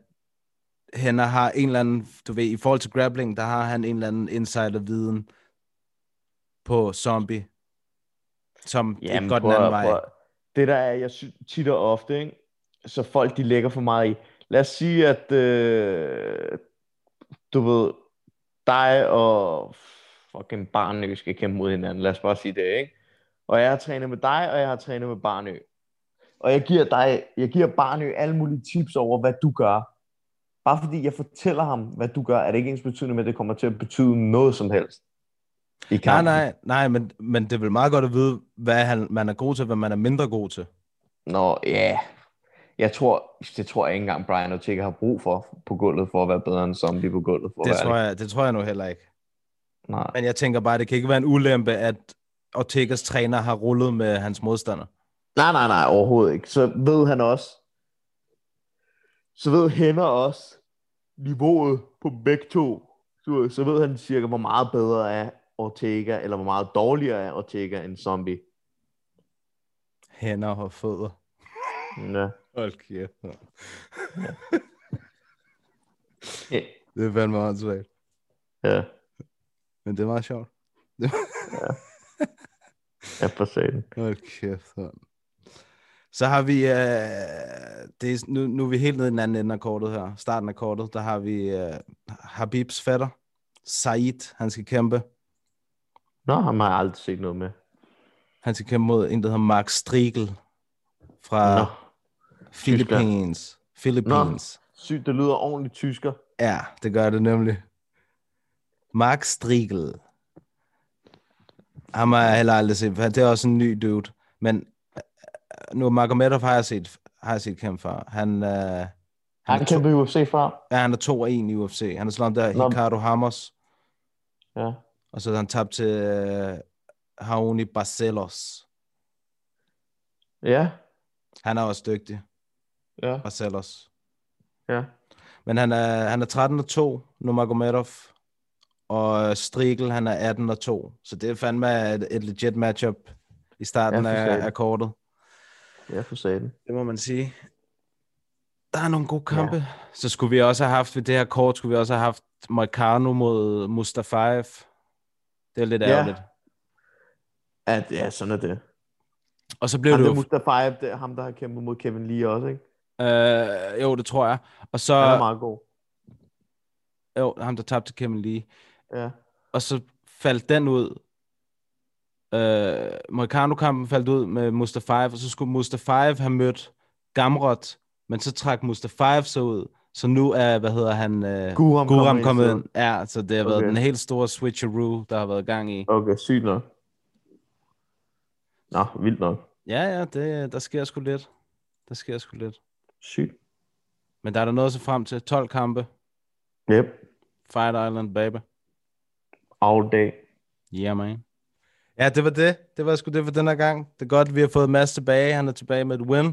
hænder har en eller anden, du ved, i forhold til grappling, der har han en eller anden insider-viden på zombie, som Jamen, ikke Jamen, går den prøv at- anden vej. prøv at- Det der er, jeg synes tit og ofte, ikke? så folk de lægger for meget i. Lad os sige, at øh, du ved, dig og fucking Barnø skal kæmpe mod hinanden. Lad os bare sige det, ikke? Og jeg har trænet med dig, og jeg har trænet med Barnø. Og jeg giver dig, jeg giver Barnø alle mulige tips over, hvad du gør. Bare fordi jeg fortæller ham, hvad du gør, er det ikke ens betydende med, at det kommer til at betyde noget som helst. I Nej, kampen. nej, nej, men, men det er vel meget godt at vide, hvad han, man er god til, hvad man er mindre god til. Nå, ja. Yeah. Jeg tror, det tror jeg ikke engang, Brian Ortega har brug for på gulvet, for at være bedre end zombie på gulvet. For Det at være tror, jeg, det tror jeg nu heller ikke. Nej. Men jeg tænker bare, det kan ikke være en ulempe, at Ortegas træner har rullet med hans modstander. nej, nej, nej, overhovedet ikke. Så ved han også, så ved Henner også niveauet på begge to. Så, så ved han cirka, hvor meget bedre er Ortega, eller hvor meget dårligere er Ortega end zombie. Hænder og fødder. Ja. Hold kæft. mand. Ja. Det er fandme åndssvagt. Ja, Men det er meget sjovt. jeg får satan. Hold kæft. mand. Så har vi, øh, det er, nu, nu er vi helt nede i den anden ende af kortet her. Starten af kortet, der har vi øh, Habibs fætter, Said, han skal kæmpe. Nå, ham har jeg aldrig set noget med. Han skal kæmpe mod en, der hedder Mark Striegel fra Nå, Philippines. Philippines. Sygt, det lyder ordentligt tysker. Ja, det gør det nemlig. Mark Striegel. Ham har jeg heller aldrig set. for Det er også en ny dude. Men øh, nu Magomedov har jeg set, har jeg set kæmpe for. Han, øh, han, Han er to, kæmper UFC fra. ja, han er 2 og 1 i UFC. Han er slået om der Nå. Ricardo Hammers. Ja. Og så har han tabt til øh, Haoni Barcelos. Ja, Han er også dygtig, ja, Barcelos. ja. Men han er, han er 13 og 2, Nurmagomedov. Og øh, Striegel, han er 18 og 2. Så det er fandme et, et legit matchup i starten Ja, for af, satan. af kortet. Ja, for satan. Det må man sige. Der er nogle gode kampe. Ja. Så skulle vi også have haft, ved det her kort, skulle vi også have haft Moicano mod Mustafaev. Det er lidt Ja. ærgerligt. At, ja, sådan er det. Og så blev Ham det der jo... Mustafaev, det er ham, der har kæmpet mod Kevin Lee også, ikke? Øh, jo, det tror jeg. Og så... Han er meget god. Jo, ham der tabte til Kevin Lee. Ja. og så faldt den ud. Øh, Moicano-kampen faldt ud med Mustafaev, og så skulle Mustafaev have mødt Gamrot, men så trak Mustafaev sig ud, så nu er, hvad hedder han, øh, Guram, kommer Guram ind kommet ind. siden. Ja, så det har været Okay. den helt store switcheroo, der har været gang i. Okay, sygt nok. Nå, vildt nok. Ja, ja, det, der sker sgu lidt. Der sker sgu lidt. Sygt. Men der er der noget at se frem til. 12 kampe. Yep. Fight Island, baby. All day. Yeah, man. Ja, det var det. Det var sgu det for den her gang. Det er godt, vi har fået Mads tilbage. Han er tilbage med et win.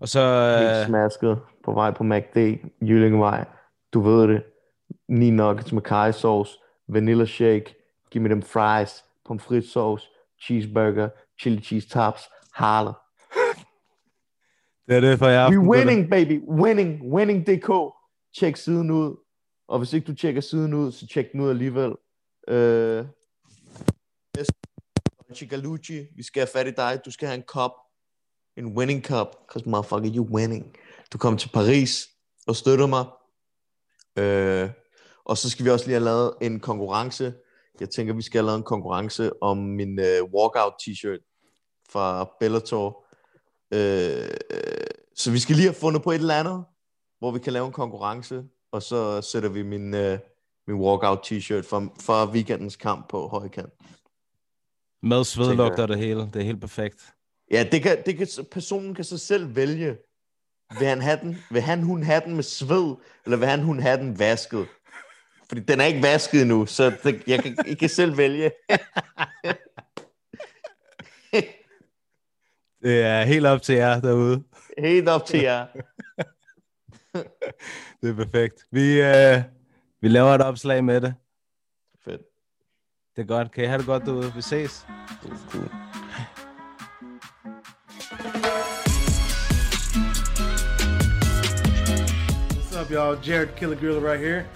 Og så... Helt Øh, smasket på vej på MACD, Jyllingevej. Du ved det. Ni nuggets med curry sauce, vanilla shake, giv mig dem fries, pomfrit sauce, cheeseburger, chili cheese tops, harler. det er det for jer. We winning, baby. Winning. Winning.dk. Tjek siden ud. Og hvis ikke du tjekker siden ud, så tjek den ud alligevel. Øh, Chigalucci, vi skal have fat i dig. Du skal have en kop. En winning cup. Because motherfucker, you winning. Du kommer til Paris og støtter mig. Øh, og så skal vi også lige have lavet en konkurrence. Jeg tænker, vi skal have lavet en konkurrence om min øh, walkout t-shirt fra Bellator. Øh, så vi skal lige have fundet på et eller andet, hvor vi kan lave en konkurrence, og så sætter vi min, øh, min walkout t-shirt fra, fra weekendens kamp på højkant. Med svedlugter og det hele. Det er helt perfekt. Ja, det kan, det kan, personen kan så selv vælge, vil han, have den, vil han hun have den med sved, eller vil han hun have den vasket? Fordi den er ikke vasket endnu, så det, jeg, kan, jeg kan selv vælge. Det er helt op til jer derude. Helt op til jer. Det er perfekt. Vi, øh, vi laver et opslag med det. Fedt. Det er godt. Kan I have det godt derude? Vi ses. What's up, y'all? Jared Killigreeler right here.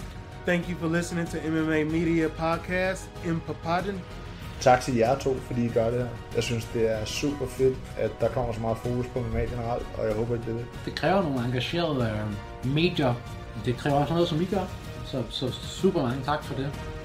Thank you for listening to MMA Media Podcast in Papadon. Tak til jer to, fordi I gør det her. Jeg synes, det er super fedt, at der kommer så meget fokus på MMA generelt, og jeg håber, at det er det. det kræver nogle engagerede øh, medier. Det kræver også noget, som I gør. Så, så super mange tak for det.